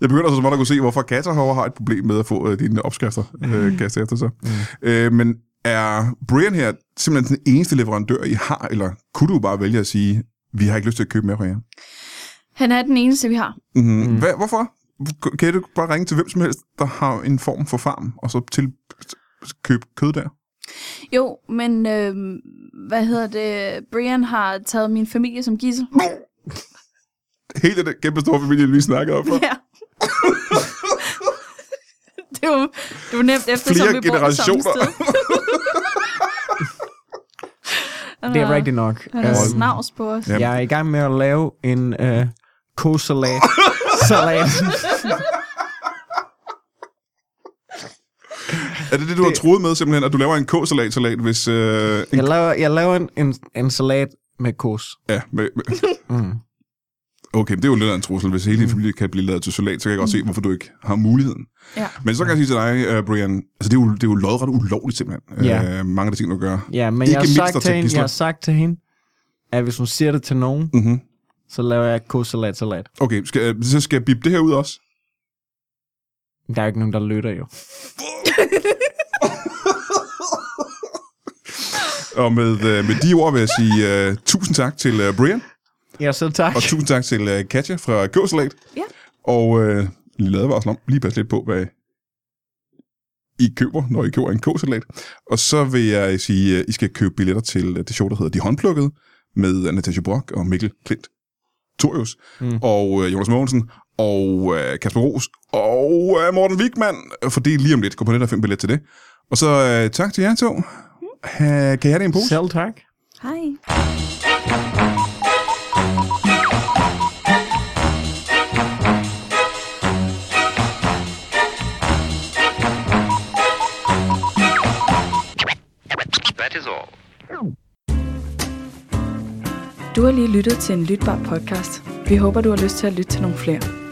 Speaker 1: jeg begynder så småt at kunne se, hvorfor katter herovre har et problem med at få øh, dine opskrifter øh, kastet efter sig. Mm. Øh, men er Brian her simpelthen den eneste leverandør, I har, eller kunne du bare vælge at sige, vi har ikke lyst til at købe mere fra jer?
Speaker 3: Han er den eneste, vi har.
Speaker 1: Mm. Hvad, hvorfor? Kan du bare ringe til hvem som helst, der har en form for farm, og så til købe kød der?
Speaker 3: Jo, men øh, hvad hedder det? Brian har taget min familie som gissel.
Speaker 1: Hele den kæmpe store familie, vi snakker om.
Speaker 3: Ja. det, var, det var nemt, efter
Speaker 1: Flere
Speaker 3: som vi bor det samme
Speaker 1: generationer.
Speaker 3: sted.
Speaker 4: Det er rigtigt nok.
Speaker 3: Han er
Speaker 4: Øh,
Speaker 3: snavs på os.
Speaker 1: Ja.
Speaker 4: jeg er i gang med at lave en øh, kosalat. Salat.
Speaker 1: Er det det, du det... har troet med simpelthen, at du laver en k-salat-salat, hvis... Øh, en...
Speaker 4: Jeg laver, jeg laver en, en, en salat med kos.
Speaker 1: Ja, med, med...
Speaker 4: Mm.
Speaker 1: Okay, men det er jo lidt af en trussel. Hvis hele din familie kan blive lavet til salat, så kan jeg
Speaker 4: Mm.
Speaker 1: godt se, hvorfor du ikke har muligheden.
Speaker 3: Ja.
Speaker 1: Men så kan jeg sige til dig, uh, Brian, altså det er jo, det er jo lodret ulovligt simpelthen,
Speaker 4: Ja.
Speaker 1: uh, mange af de ting, du gør.
Speaker 4: Ja, men
Speaker 1: Ikke
Speaker 4: jeg har,
Speaker 1: mindst
Speaker 4: sagt
Speaker 1: at
Speaker 4: til
Speaker 1: tage
Speaker 4: hende,
Speaker 1: gidsler.
Speaker 4: jeg har sagt til hende, at hvis hun siger det til nogen,
Speaker 1: Mm-hmm.
Speaker 4: så laver jeg kosalat salat.
Speaker 1: Okay, skal, øh, så skal jeg bippe det her ud også?
Speaker 4: Der er jo ikke nogen, der lytter jo.
Speaker 1: Og med, uh, med de ord vil jeg sige uh, tusind tak til uh, Brian,
Speaker 4: Ja, så tak.
Speaker 1: og tusind tak til uh, Katja fra K-salat.
Speaker 3: Ja.
Speaker 1: Og uh, lige advarsel om, lige pas lidt på, hvad I køber, når I køber en K-salat. Og så vil jeg sige, at I skal købe billetter til øh, det show, der hedder De Håndplukkede, med øh, Natasha Brock og Mikkel Klint Torius, mm. og øh, Jonas Mogensen, og øh, Kasper Ros, og øh, Morten Wigman, for det er lige om lidt. Gå på net og find billet til det. Og så øh, tak til jer to. Ha, kan I have det i en pose?
Speaker 4: Selv tak.
Speaker 3: Hej.
Speaker 8: That is all.
Speaker 9: Du har lige lyttet til en lytbar podcast. Vi håber, du har lyst til at lytte til nogle flere.